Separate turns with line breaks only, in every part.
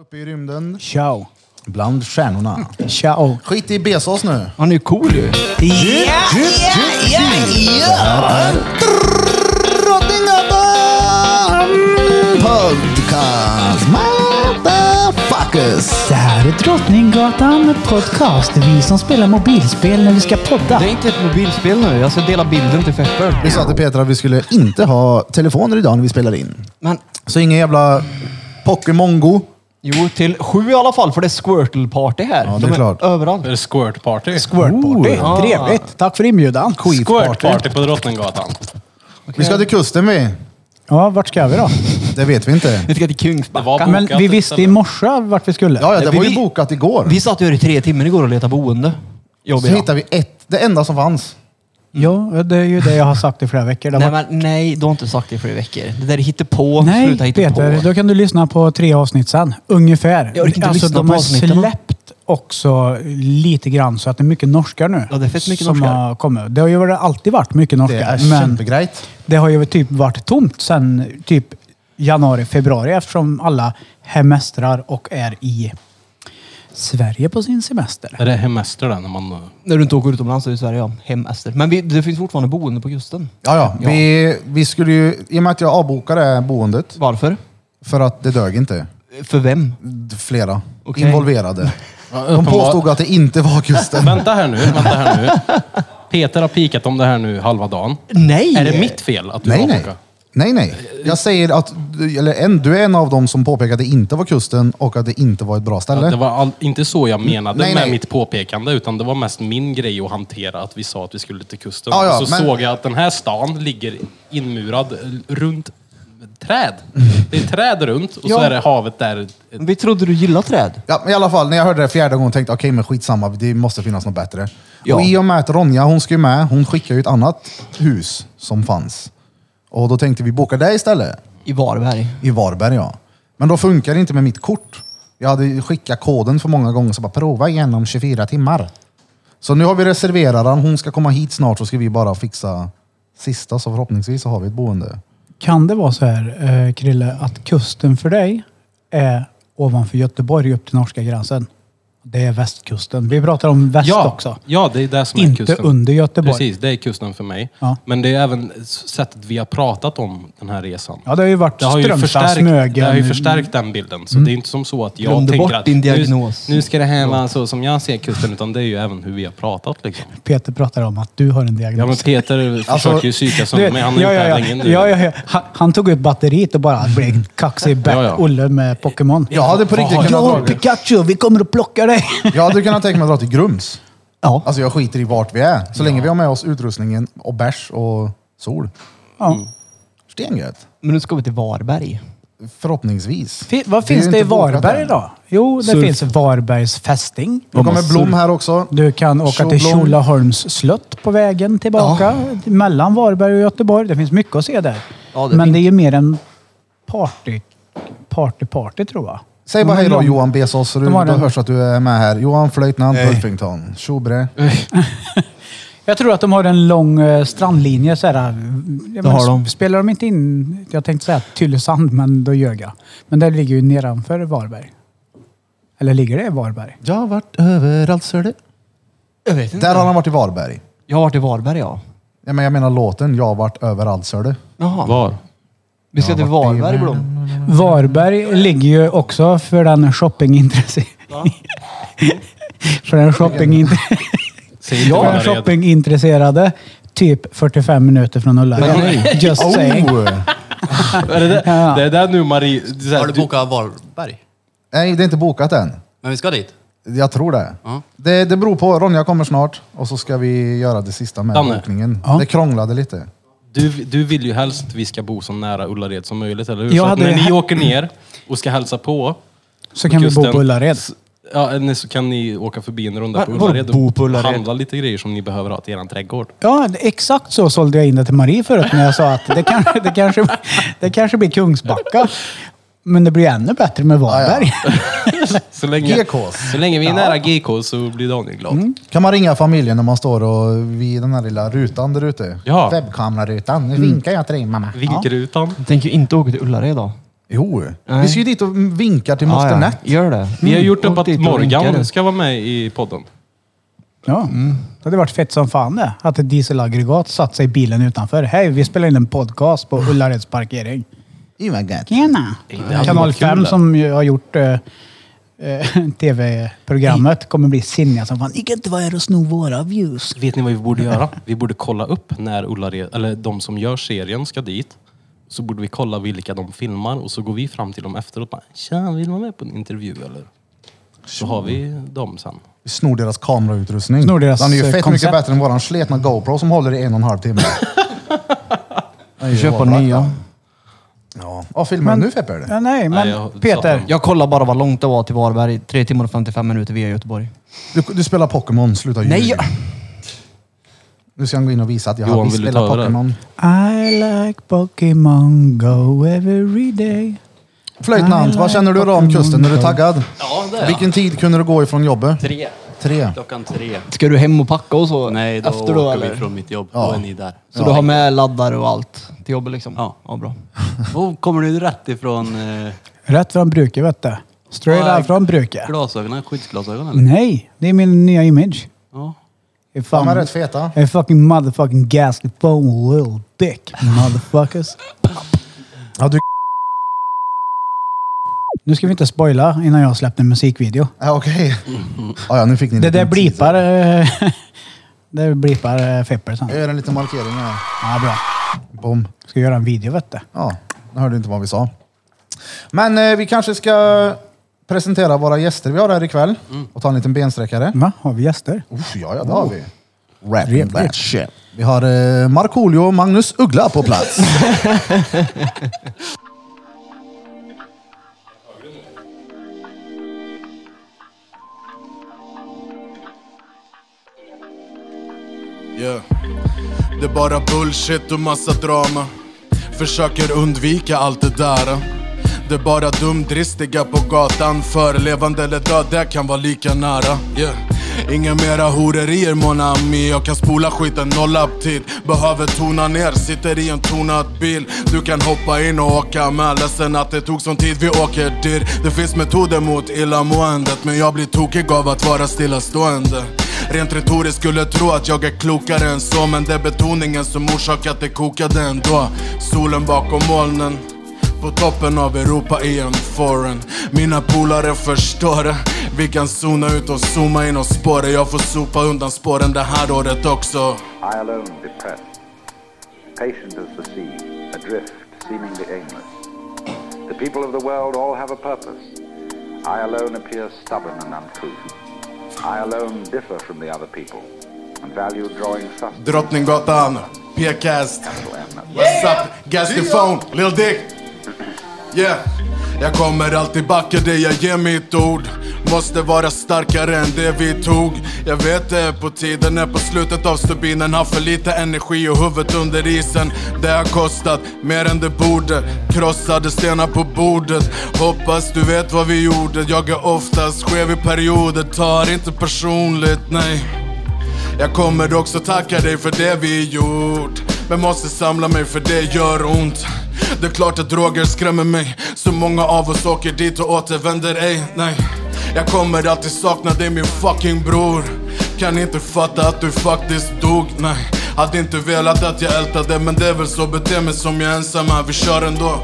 Uppe i rymden.
Ciao.
Bland stjärnorna.
Ciao.
Skit i Bezos nu.
Han är cool ju.
Ja, ja, ja, ja. Drottninggatan podcast. Motherfuckers.
Det här är Drottninggatan podcast. Vi som spelar mobilspel när vi ska podda.
Det är inte ett mobilspel nu. Jag ska dela bilden till Fetter.
Vi sa till Peter att vi skulle inte ha telefoner idag när vi spelar in.
Men
Så ingen jävla Pokémon Go.
jo, till sju i alla fall, för det är Squirtle-party här.
det är
De
klart.
Överallt.
Det är squirt party.
Squirtparty.
Ah.
Oh. Trevligt. Tack för inbjudan.
Squirt party på Drottninggatan.
Vi ska till kusten vi.
Ja, vart ska vi då?
Det vet vi inte.
Vi ska till
Det var
Kungsbacka.
bokat,
Men vi visste i
eller?
morse vart vi skulle.
Ja, ja det
Vi-
var ju
vi-
bokat igår.
Vi satt ju här i tre timmar igår och letade boende.
Så
Jobbiga.
hittade vi ett, det enda som fanns.
ja, det är ju det jag har sagt i flera veckor. Det
Nej,
var...
men, nej, du har inte sagt det i flera veckor. Det där hittar på.
Nej,
Sluta hitta
Peter.
på.
Då kan du lyssna på tre avsnitt sen. Ungefär.
Jag orkar inte
alltså,
lyssna
de
på
har
avsnitten.
släppt också lite grann så att det är mycket norskar nu.
Ja, det är fett mycket
som
norskar.
Har kommit. Det har ju varit- alltid varit mycket
Det
norskar.
är
men
kämpegrejt.
Det har ju typ varit tomt sen typ januari, februari eftersom alla hemestrar och är i Sverige på sin semester.
Är det hemester där när man... eh,
När du inte åker utomlands så är det Sverige, ja. Hemester. Men vi, det finns fortfarande boende på kusten.
Ja, ja. Vi, vi skulle ju, I och med att jag avbokade boendet,
Varför?
för att det dög inte.
För vem?
D- Flera
Okej.
involverade. De
uppenbar-
påstod att det inte var kusten.
Vänta här nu, vänta här nu. Peter har pikat om det här nu halva dagen.
Nej!
Är det mitt fel att du
nej,
har
nej.
bokat?
Nej, nej. Jag säger att, eller en, du är en av dem som påpekade att det inte var kusten och att det inte var ett bra
Att Det
ställe.
var all, inte så jag menade
Nej,
med
nej.
mitt påpekande, utan det var mest min grej att hantera att vi sa att vi skulle till kusten.
Ja, ja,
och så
men-
såg jag att den här stan ligger inmurad runt träd. Det är träd runt och så
Ja.
är det havet där.
Vi trodde du gillade träd.
Ja, men i alla fall, när jag hörde det fjärde gången tänkte jag okej, men skitsamma, det måste finnas något bättre.
Ja.
Och i och med att Ronja, hon ska ju med, hon skickar ju ett annat hus som fanns. Och då tänkte vi boka det istället.
I Varberg.
I Varberg ja. Men då funkar det inte med mitt kort. Jag hade skickat koden för många gånger så bara prova igen om 24 timmar. Så nu har vi reserverat den. Hon ska komma hit snart så ska vi bara fixa sista så förhoppningsvis så har vi ett boende.
Kan det vara så här, eh, Krille, att kusten för dig är ovanför Göteborg upp till norska gränsen? Det är västkusten. Vi pratar om väst också.
ja, det är det som är
Inte
kusten.
under Göteborg.
Precis, det är kusten för mig.
Ja.
Men det är även s- sättet vi har pratat om den här resan.
Ja, det har ju varit
Det har, ju
Strömstad,
förstärkt, det har ju
Smögen. Mm.
förstärkt den bilden. Så det är inte som så att jag
Glömde
tänker
bort
att
din diagnos.
Nu, nu ska det här vara så som jag ser kusten, utan det är ju även hur vi har pratat. Liksom.
Peter pratar om att du har en diagnos.
Ja, men Peter försöker ju psyka som
alltså, Du vet,
mig. Han är
ja,
inte
ja,
här
ja.
länge nu.
ja, ja, ja. Han, han tog ut batteriet och bara blev kaxig Bert
Ja, ja.
Olle med Pokémon.
Jag hade på riktigt kunnat
Ja,
dra,
Pikachu, vi kommer att plocka dig!
jag hade kunnat tänka mig att dra till Grums.
Ja,
Alltså jag skiter i vart vi är. Så länge vi har med oss utrustningen och bärs och sol.
ja.
Mm.
Stengött.
Men nu ska vi till Varberg.
Förhoppningsvis.
Fin, vad
är
finns
ju
det i
inte bokat
Varberg
än.
då? Jo, det
Surf.
finns Varbergs fästing.
Då kommer Blom här också.
Du kan åka till
Tjoblom.
Tjolaholms slott på vägen tillbaka. Mellan Varberg och Göteborg. Det finns mycket att se där.
Ja, det är
men
fint.
det är ju mer en party, party, party tror jag.
Säg bara
De har
hej då
lång-
Johan Bezos, så du,
De
då
har den.
hörs att du är med här. Johan Flöjtnant Puffington. Tjobre.
Jag tror att de har en lång eh, strandlinje. Så här, det
har de.
Spelar de inte in, jag tänkte säga Tylösand, men då ljög jag. Men det ligger ju nedanför Varberg. Eller ligger det i Varberg?
Jag har varit överallt ser du.
Jag vet inte.
Där har han varit i Varberg.
Jag har varit i Varberg, ja.
Ja, men jag menar låten Jag har varit överallt ser du.
Jaha.
Var?
Vi ska till
vart är
Varberg,
världen?
Blom.
Varberg ligger ju också för den shoppingintresserade. för den shoppingintre-
Säg
för
inte
den
Vannared.
shoppingintresserade. Typ 45 minuter från Ullared. Just saying.
Oh.
Är det, det, det är där nu Marie... det är så här,
Har du bokat Varberg?
Nej, det är inte bokat än.
Men vi ska dit.
Jag tror det.
Ja.
det. Det beror på. Ronja kommer snart och så ska vi göra det sista med
Danne.
bokningen.
Ja.
Det krånglade lite.
Du, du vill ju helst att vi ska bo så nära Ullared som möjligt, eller hur?
Jag
Så att
hade
när
ju
ni
he-
åker ner och ska hälsa på,
Så kan vi bo
Kusten.
på Ullared.
ja, ni- så kan ni åka förbi en runda på
Var- var
Ullared
bo på Ullared?
handla lite grejer som ni behöver ha till er trädgård.
Ja, exakt så sålde jag in det till Marie förut när jag sa att det kanske, det kanske, det kanske blir Kungsbacka. Men det blir ännu bättre med Varberg.
Så länge,
GKs.
Så länge vi är nära GK så blir Daniel glad.
Mm.
Kan man ringa familjen när man står och vid den här lilla rutan där ute?
Ja.
Webbkamerarutan. Nu vinkar jag till dig mamma.
Vinkerutan.
Jag tänker ju inte åka till Ullared idag.
Jo,
Nej.
vi ska ju dit och vinkar till Moster Nett.
Gör det.
Vi har gjort
Mm,
upp att
åk dit och vinka
Morgan
du.
ska vara med i podden.
Ja. Det hade varit fett som fan det. Att ett dieselaggregat satt sig i bilen utanför. Hej, vi spelar in en podcast på Ullareds parkering. Tjena!
det hade
Kanal
varit kul
5
det.
som ju har gjort eh, eh, tv-programmet kommer bli sinniga som fan. Ni kan inte vara här och sno våra views.
Vet ni vad vi borde göra? Vi borde kolla upp när Ullared, eller de som gör serien ska dit. Så borde vi kolla vilka de filmar och så går vi fram till dem efteråt. Bara, Tja, vill du vara med på en intervju eller? Så har vi dem sen.
Vi snor deras kamerautrustning.
Snor deras,
Den är ju
eh,
fett
koncept.
mycket bättre än våran sletna GoPro som håller i en och en halv timme. Den är ju
Köpa
overblack,
nya.
den. Ja. Ja, filmar du nu Feppe? eller?
Ja, nej, men
Nej, jag-
Peter.
satan.
Jag kollade bara vad långt det var till Varberg. 3 timmar och 55 minuter via Göteborg.
Du, du spelar Pokémon, sluta
Nej,
ljuga.
jag-
Nu ska han gå in och visa att jag
Johan,
har
vill du
spelat
ta över det?
Pokémon.
I like Pokémon Go every day.
Flöjtnant, vad känner du då om kusten? Är du taggad?
Ja, det är jag.
Vilken tid kunde du gå ifrån jobbet?
Tre.
Tre.
Klockan tre.
Ska du hem och packa och så?
Nej, då
Efter då
åker
eller?
vi från mitt jobb.
Ja.
Då är ni där.
Så du har med laddare och allt till jobbet liksom?
Ja.
ja bra.
Då kommer du rätt ifrån eh,
Rätt från bruket vet du. Straight
Ja,
out från bruket.
glasögonen, skyddsglasögon eller?
Nej, det är min nya image.
Ja.
Jag är fan-
De är rätt feta.
jag är fucking motherfucking ghastly phone little dick motherfuckers.
Ja, du...
Nu ska vi inte spoila innan jag har släppt en musikvideo.
Ja, okej. Ja, ja, nu fick ni en
Det där
liten teaser.
blipar... eh, det blipar eh, Fepper sen.
Jag gör en liten markering här.
Ja, bra.
Bom.
Ska göra en video vet du.
Ja, nu hörde inte vad vi sa. Men eh, vi kanske ska presentera våra gäster vi har här ikväll och ta en liten bensträckare.
Va? Har vi gäster?
Uff, ja, ja, det har vi. Rapping that shit. Vi har eh, Markoolio och Magnus Uggla på plats.
Yeah. Det är bara bullshit och massa drama Försöker undvika allt det där Det är bara dumdristiga på gatan För levande eller död, det kan vara lika nära yeah. Inga mera horerier mon ami Jag kan spola skiten noll aptit Behöver tona ner, sitter i en tonad bil Du kan hoppa in och åka med Ledsen att det tog sån tid, vi åker dir Det finns metoder mot illamåendet Men jag blir tokig av att vara stillastående Rent retoriskt skulle tro att jag är klokare än så Men det är betoningen som orsakat det kokade ändå Solen bakom molnen på toppen av Europa i en foreign Mina polare förstår det Vi kan zona ut och zooma in och spåra Jag får sopa undan spåren det här året också
I alone depressed, patient as the sea, adrift, seemingly aimless. The people of the world all have a purpose. I alone appear stubborn and uncouth. I alone differ from the other people and value drawing sustenance.
Drottninggatan, PKS
and that-
What's up? Gas the phone, lil dick. Yeah. Jag kommer alltid backa det jag ger mitt ord. Måste vara starkare än det vi tog. Jag vet det är på tiden, är på slutet av stubinen. Har för lite energi och huvudet under isen. Det har kostat mer än det borde. Krossade stenar på bordet. Hoppas du vet vad vi gjorde. Jag är oftast skev i perioder. Tar inte personligt, nej. Jag kommer också tacka dig för det vi gjort Men måste samla mig för det gör ont Det är klart att droger skrämmer mig Så många av oss åker dit och återvänder ej, nej Jag kommer alltid sakna dig min fucking bror Kan inte fatta att du faktiskt dog, nej Hade inte velat att jag ältade men det är väl så bete mig som jag är ensam här, vi kör ändå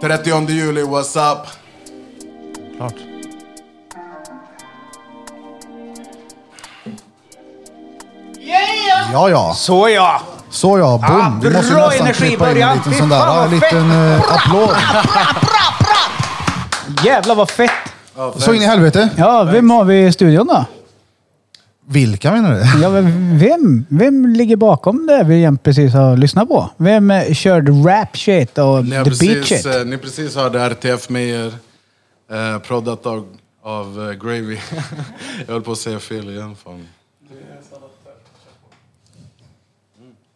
Trettionde juli, what's up?
Ja, ja.
Så ja!
Så ja, boom.
Ah,
vi måste
bra
nästan
energi i
klippa in
början.
en liten
Fy
sån där.
fan,
Ja,
vad
en liten eh, applåd.
Jävlar vad fett!
Så in i helvete.
Ja, vem har vi i studion då?
Vilka menar du?
Ja, men vem? Vem ligger bakom det vi jämt precis har lyssnat på? Vem eh, körde rap shit och
Ni
the
har
beat
precis,
shit?
eh, ni precis hörde RTF Meyer, eh, proddat av, av eh, Gravy. jag höll på att säga fel igen. Fan.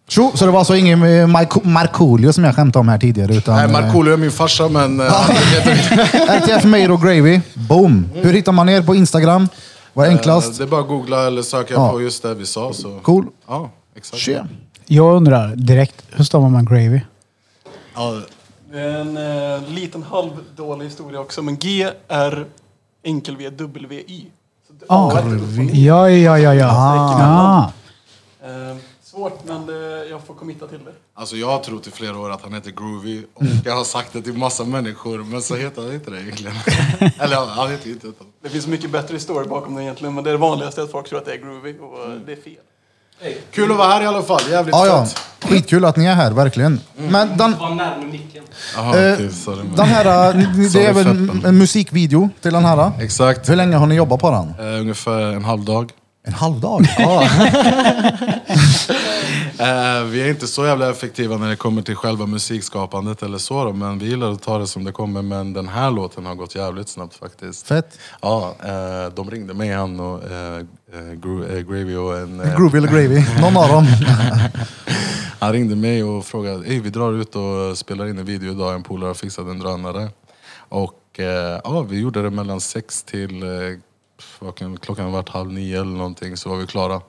Tjo, så det var alltså ingen eh, Marko- Markoolio som jag skämtade om här tidigare. Utan,
Nej,
eh,
Markoolio är min farsa, men eh, han heter,
RTF Meir och Gravy. Boom. Hur hittar man er på Instagram? Vad är
eh,
enklast?
det är bara att googla eller söka
Ja.
på just det vi sa. Så.
Cool.
Ja, exakt.
Tje.
Jag undrar direkt, hur stavar man gravy?
En eh, liten halv dålig historia också, men G är enkel V, W, I. Så det-
Ah.
ja, det är upp och ner.
Ja, ja, ja, ja.
Ah.
Ah.
Eh, svårt, men det, jag får kommitta till det.
Alltså jag har trott i flera år att han heter Groovy och
Mm.
jag har sagt det till massa människor men så heter han inte det egentligen. Eller han- han heter ju inte det.
Det finns mycket bättre historier bakom det egentligen, men det är det vanligaste att folk tror att det är groovy och
Mm.
eh, det är fel.
Kul att vara här i alla fall, jävligt
Ja, ja.
fett.
Skitkul att ni är här, verkligen. Men den,
Var närmare micken.
Aha,
Eh,
okej, sorry, men-
den här, eh, ni- ni- det är
Sorry,
väl en,
Feppen.
en musikvideo till den här? eh?
Exakt.
Hur länge har ni jobbat på den?
Eh, ungefär en halv dag.
En halv dag? Ja.
Eh, vi är inte så jävla effektiva när det kommer till själva musikskapandet eller så då, men vi gillar att ta det som det kommer. Men den här låten har gått jävligt snabbt faktiskt.
Fett.
Ja, eh, de ringde mig han och eh, eh, Gro- eh, Gravy och en... eh,
Groovy eller gravy? Någon av dem.
Han ringde mig och frågade, Ey, vi drar ut och spelar in en video idag, en polare har fixat en drönare. Och eh, ja, vi gjorde det mellan sex till, eh, pff, vad kan- klockan vart halv nio eller någonting så var vi klara.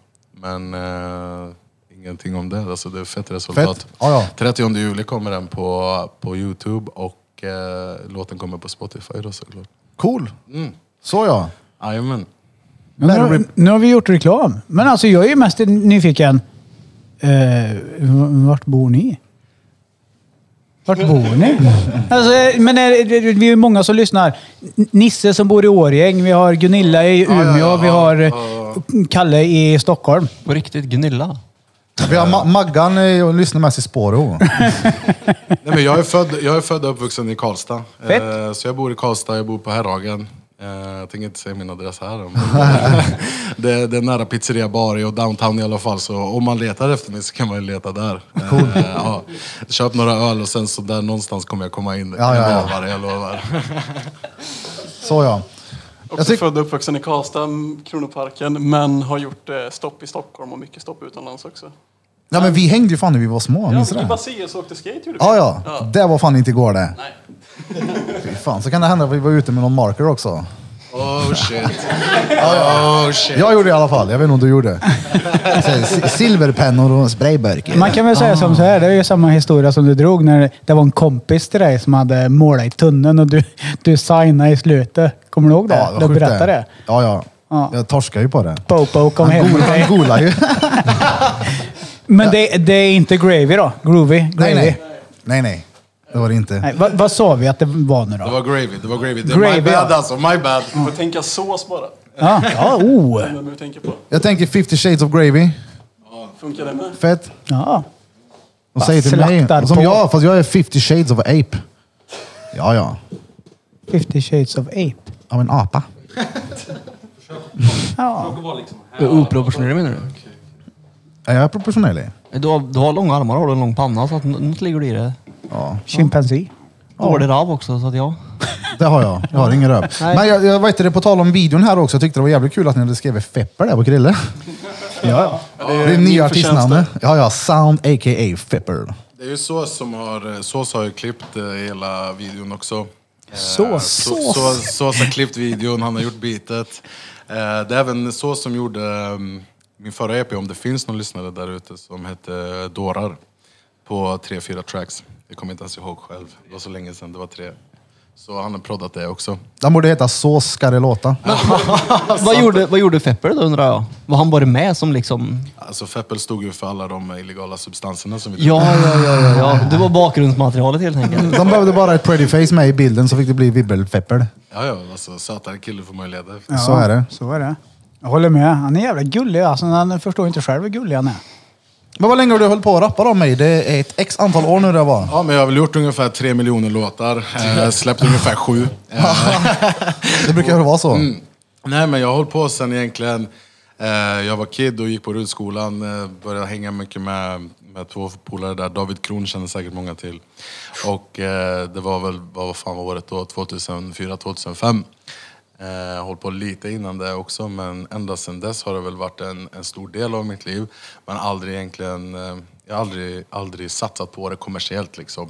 Men eh, ingenting om det, alltså det är fett resultat.
Fett. Ja, ja.
30 juli kommer den på, på Youtube och eh, låten kommer på Spotify då såklart.
Cool. Så ja.
Jajamän.
Men nu, har- nu har vi gjort reklam. Men alltså jag är ju mest nyfiken. Eh, v- vart bor ni? Vart bor ni? Alltså, eh, men är, det- det- vi är ju många som lyssnar. N- Nisse som bor i Årjäng, vi har Gunilla i Umeå, vi har eh, Kalle i Stockholm.
På riktigt, Gunilla.
Vi har Ma- Maggan eh, och lyssnar mest i Spåro.
Nej, men jag, är född, jag är född och uppvuxen i Karlstad.
Fett.
Eh, så jag bor i Karlstad, jag bor på Herrhagen. Eh, jag tänker inte säga min adress här. Men det, det är nära pizzeria Bari och downtown i alla fall. Så om man letar efter mig så kan man ju leta där. Eh, ja. Köp några öl och sen så där någonstans kommer jag komma in.
Ja, ja, ja.
Jag lovar, jag lovar.
Så ja.
Också
tyck-
född och uppvuxen i Karlstad, m, Kronoparken, men har gjort eh, stopp i Stockholm och mycket stopp utomlands också.
Ja, men vi hängde ju fan när vi var små,
Ja,
minns du
men i
det?
Basias åkte skate gjorde vi.
Ja, ja. Det var fan inte igår det.
Nej.
Fy fan, så kan det hända att vi var ute med någon marker också.
Oh shit. Oh shit.
Jag gjorde i alla fall, jag vet inte om du gjorde. Så här, si- Silverpennor och en sprayburk.
Man kan väl säga som så här, det är ju samma historia som du drog när det var en kompis till dig som hade målat i tunneln och du, du signade i slutet. Kommer du ihåg det?
Ja, vad
du
sjukt
berättade det.
Ja, ja.
Ja.
Jag torskar ju på det.
Popo kom
Han
hem
go-
till dig.
han golar ju.
Men det, det är inte gravy då? Groovy? Gravy?
Nej, nej. Nej, nej. Det var det inte.
Nej, vad, vad sa vi att det var nu
Det
då?
var gravy, det var gravy. Det är
Gravy,
my bad
ja.
alltså, my bad.
Du får tänka sås bara.
Ja, ja oh.
Vem du tänker på.
Jag tänker 50 shades of gravy.
Funkar det med?
Fett.
Ja.
De
Bara
säger till
slaktar
mig. Som
på.
jag, fast jag är 50 shades of ape. Ja, ja.
50 shades of ape.
Av en apa.
Ja.
Du är oproportionerlig menar du?
Är jag proportionell?
Du har, du har långa armar och du har lång panna så att nå- något ligger det i det.
Ja,
Chimpansi.
Dålig rav också så att ja.
det har jag. Jag har ingen röv. Men jag, jag vet det på tal om videon här också. Jag tyckte det var jävligt kul att ni hade skrivit Fepper där på Krille.
Ja,
Det är det nya artistnamnet. Ja, ja. Sound a.k.a. Fepper.
Det är ju Sås som har, Sås har ju klippt eh, hela videon också. Eh,
Sås.
Så- Så, sås har klippt videon, han har gjort beatet. Eh, Det är även Sås som gjorde mm, min förra EP, om det finns någon lyssnare där ute, som hette eh, Dårar. På tre, fyra tracks. Jag kommer inte ens ihåg själv. Det var så länge sedan, det var tre. Så han har proddat det också.
Den borde heta Så ska det låta.
vad, gjorde, vad gjorde Fepper då undrar jag? Var han bara med som liksom...
Alltså Feppel stod ju för alla de illegala substanserna som vi
Ja, ja, ja, ja. ja. Det var bakgrundsmaterialet helt enkelt.
De behövde bara ett pretty face med i bilden så fick det bli Vibbel-Fepper.
Ja, ja, alltså sötare kille får man ju leta efter.
ja.
Så är det.
Så är det. Jag håller med. Han är jävla gullig. Alltså, han förstår inte själv hur gullig han är.
Men vad länge har du hållit på att rappa om mig? Det är ett x antal år nu det var.
Ja, men jag har väl gjort ungefär tre miljoner låtar. Eh, släppt ungefär sju. Eh,
Det brukar väl vara så.
Mm. Nej, men jag har hållit på sen egentligen eh, jag var kid och gick på Rudskolan. Eh, började hänga mycket med, med två polare där. David Kron känner säkert många till. Och eh, det var väl, vad var fan var året då? 2004, 2005. Eh, hållit på lite innan det också, men ända sedan dess har det väl varit en, en stor del av mitt liv. Men aldrig egentligen, eh, jag har aldrig, aldrig satsat på det kommersiellt liksom.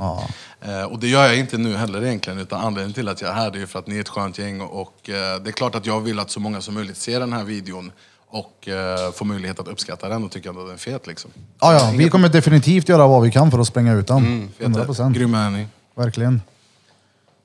Eh, och det gör jag inte nu heller egentligen, utan anledningen till att jag är här det är ju för att ni är ett skönt gäng och eh, det är klart att jag vill att så många som möjligt ser den här videon och eh, får möjlighet att uppskatta den och tycka att den är fet liksom.
Ja, ja, vi kommer definitivt göra vad vi kan för att spränga ut den. 100 procent.
Mm, eh, Grym är ni.
Verkligen.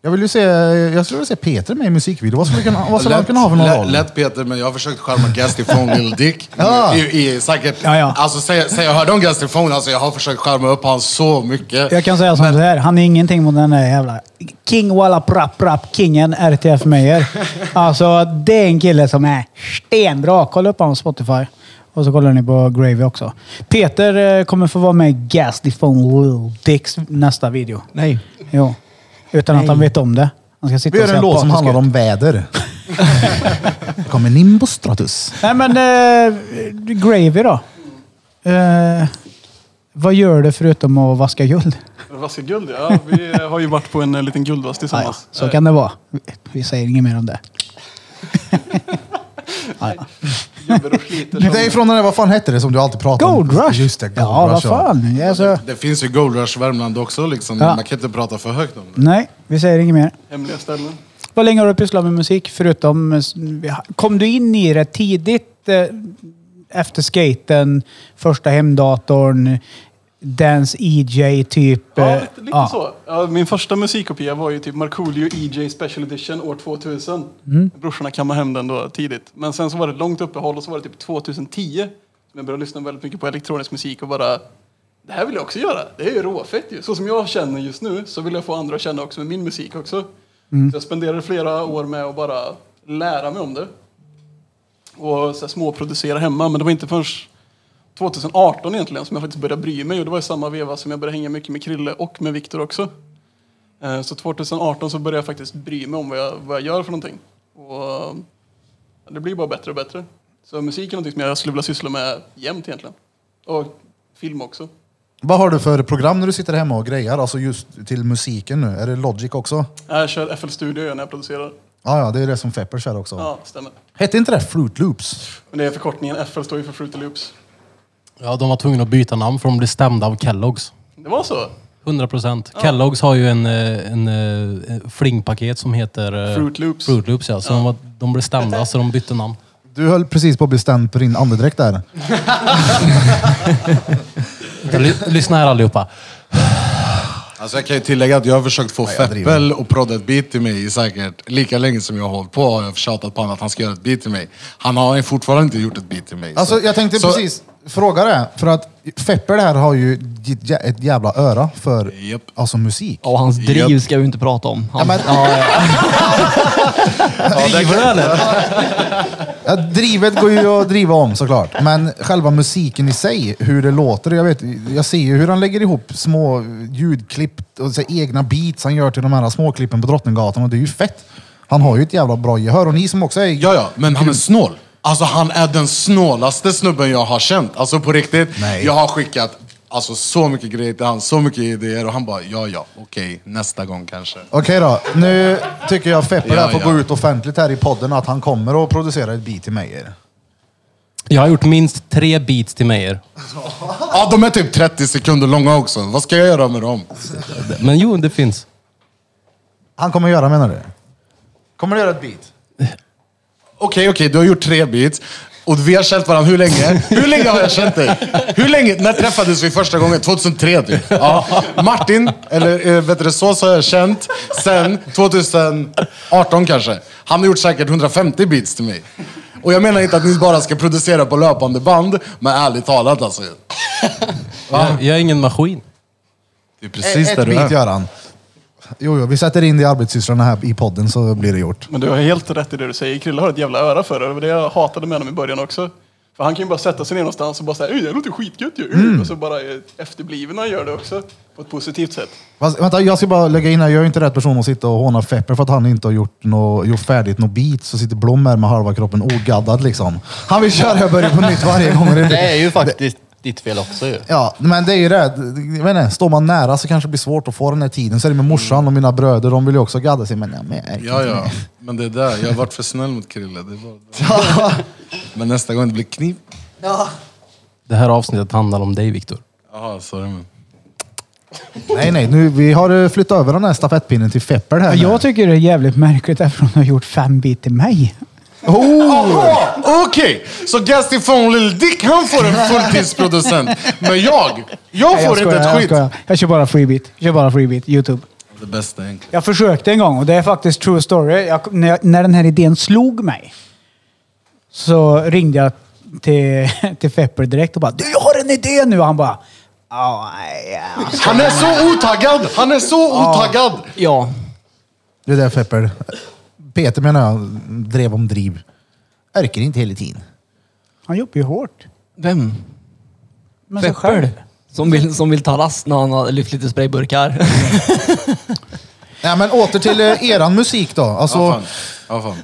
Jag vill ju se, jag skulle vilja se Peter med i musikvideo. Vad skulle, han kunna- vad skulle han
Lätt-
kunna ha för någon
lätt-
roll?
Lätt Peter, men jag har försökt charma Gastifone Lil Dick.
Ja.
I, i, säkert,
Ja, ja.
Alltså, säg, säg jag hörde om Gastifone, alltså, jag har försökt charma upp han så mycket.
Jag kan säga som så här, han är ingenting mot den där jävla King Walla Prapp Prapp Kingen RTF Meyer. Alltså det är en kille som är stenbra. Kolla upp honom på Spotify. Och så kollar ni på Gravy också. Peter eh, kommer få vara med i Gas Defone Lil Dicks nästa video.
Nej.
Jo. Utan att han vet om det. Han ska sitta
Vi
och
gör
säga
en låt som
patisk
handlar
ut.
om väder. kommer Nimbostratus.
Nej men, eh, Gravy då. Eh, vad gör du förutom att vaska guld?
Vaska guld, ja. Vi har ju varit på en eh, liten guldvass tillsammans.
Så kan det vara. Vi säger inget mer om det.
Jobbar Eh, och sliter.
Det är från den där, vad fan hette det som du alltid pratar om?
Gold Rush!
Just det, Gold
ja,
Rush.
vad fan. Alltså,
Det finns ju Gold Rush Värmland också, liksom.
Ja.
man kan inte prata för högt om det.
nej, vi säger inget mer.
Hemliga ställen.
Vad länge har du pysslat med musik? Förutom... eh, Kom du in i det tidigt? Eh, efter skaten, första hemdatorn, Dance EJ typ?
Ja,
eh,
lite, lite så. Ja, min första musikkopia var ju typ Markoolio EJ Special Edition år 2000. Brorsorna kammade hem den då tidigt. Men sen så var det ett långt uppehåll och så var det typ 2010 som jag började lyssna väldigt mycket på elektronisk musik och bara det här vill jag också göra. Det är ju råfett ju. Så som jag känner just nu så vill jag få andra att känna också med min musik också. Så jag spenderade flera år med att bara lära mig om det. Och så här, småproducera hemma. Men det var inte förrän 2018 egentligen som jag faktiskt började bry mig. Och det var i samma veva som jag började hänga mycket med Krille och med Viktor också. Eh, Så 2018 så började jag faktiskt bry mig om vad jag, vad jag gör för någonting. Och eh, det blir bara bättre och bättre. Så musik är någonting som jag skulle vilja syssla med jämt egentligen. Och film också.
Vad har du för program när du sitter hemma och grejar? Alltså just till musiken nu. Är det Logic också?
Jag kör FL Studio gör när jag producerar.
Ja, ja, det är det som Feppers här också.
Ja, stämmer.
Hette inte det Fruit Loops?
Men det är förkortningen FL står ju för Fruity Loops.
Ja, de var tvungna att byta namn för de blev stämda av Kelloggs.
Det var så.
100 procent. Kelloggs har ju en, eh, en, eh, flingpaket som heter... eh,
Fruit Loops.
Fruit Loops, ja. Så De, var, de blev stämda så de bytte namn.
Du höll precis på att bli stämd på din andedräkt där.
Ly, lyssna här allihopa.
Alltså, jag kan ju tillägga att jag har försökt få Feppel och prodda ett beat till mig i säkert lika länge som jag har hållit på. Har jag tjatat på honom att han ska göra ett beat till mig. Han har ju fortfarande inte gjort ett beat till mig.
Alltså jag tänkte
så-
precis fråga det. För att Fepper där har ju ett jä- ett jävla öra för
Japp.
alltså, musik.
Ja, och hans driv ska vi inte prata om. Han,
men-
ja, ja.
Driver du eller?
Ja, drivet går ju att driva om såklart. Men själva musiken i sig, hur det låter. Jag, vet, jag ser ju hur han lägger ihop små ljudklipp och så här egna beats han gör till de här småklippen på Drottninggatan. Och det är ju fett. Han har ju ett jävla bra gehör. Och ni som också är...
Ja, ja, men han är snål. Alltså han är den snålaste snubben jag har känt. Alltså på riktigt.
Nej.
Jag har skickat alltså, så mycket grejer till han, så mycket idéer och han bara, ja, ja, okej, nästa gång kanske.
Okej då, nu tycker jag Feppe där
Ja,
får
ja.
gå ut offentligt här i podden att han kommer och producera ett beat till mig.
Jag har gjort minst tre beats till Meyer.
Ja, de är typ 30 sekunder långa också. Vad ska jag göra med dem?
Men jo, det finns.
Han kommer göra menar du? Kommer du göra ett beat?
Okej, okej, du har gjort tre beats. Och vi har känt varandra hur länge? Hur länge har jag känt dig? Hur länge? När träffades vi första gången? 2003 typ. Ja. Martin, eller eh, vet du det, så så har jag känt sen 2018 kanske. Han har gjort säkert 150 beats till mig. Och jag menar inte att ni bara ska producera på löpande band, men ärligt talat alltså.
Jag, jag är ingen maskin.
Det är precis
ett
där du
beat
är.
gör han. Jo, jo, vi sätter in det i arbetssystrarna här i podden så blir det gjort.
Men du har helt rätt i det du säger. Krille har ett jävla öra för det. Det var det jag hatade med honom i början också. För han kan ju bara sätta sig ner någonstans och bara säga "Ey, det låter skitgött ju. Och så bara eh, efterblivna gör det också. På ett positivt sätt.
Fast, vänta, jag ska bara lägga in här. Jag är inte rätt person att sitta och håna Fepper för att han inte har gjort, nå gjort färdigt något beat. Så sitter Blom här med halva kroppen ogaddad liksom. Han vill köra och börja på nytt varje gång. Det
är ju faktiskt ditt fel också ju.
Ja, men det är ju det. Jag vet inte, står man nära så kanske det blir svårt att få den här tiden. Så är det med morsan och mina bröder. De vill ju också gadda sig. Men, ja, men jag
Ja, ja. Men det är där, jag har varit för snäll mot Krille. Det är bara... Men nästa gång det blir kniv.
Det här avsnittet handlar om dig, Viktor.
Jaha, sorry men.
Nej, nej. Nu, vi har eh, flyttat över den här stafettpinnen till Fepper här. nu.
Jag tycker det är jävligt märkligt eftersom du har gjort fem bit till mig.
Oh. Okej, så Gastifon Lil Dick han får en fulltidsproducent. Men jag, jag
Nej,
får inte ett
jag
skit.
skojar. Jag kör bara freebit. Jag kör bara freebit. Youtube.
Det bästa egentligen.
Jag försökte en gång och det är faktiskt true story. Jag, när, jag, när den här idén slog mig så ringde jag till, till Fepper direkt och bara du, jag har en idé nu! Och han bara ja, ja.
Han är så otaggad! Han är så otaggad!
Ja.
Det där Pepper. Peter menar jag, drev om driv. Örker inte hela tiden.
Han jobbar ju hårt.
Vem?
Men så själv.
Feppel. Som vill, som vill ta last när han har lyft lite sprayburkar.
Nej men åter till eh, eran musik då. Alltså,
Ja, fan. Ja, fan.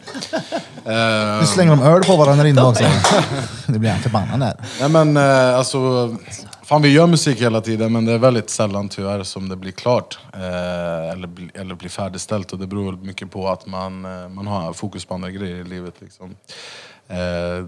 Eh,
nu slänger de öl på varandra inne också. Nu blir han förbannad där.
nej men eh, alltså, fan vi gör musik hela tiden men det är väldigt sällan tyvärr som det blir klart. eh, eller, bli- eller blir färdigställt och det beror väl mycket på att man, eh, man har fokus på andra grejer i livet. Liksom. Eh,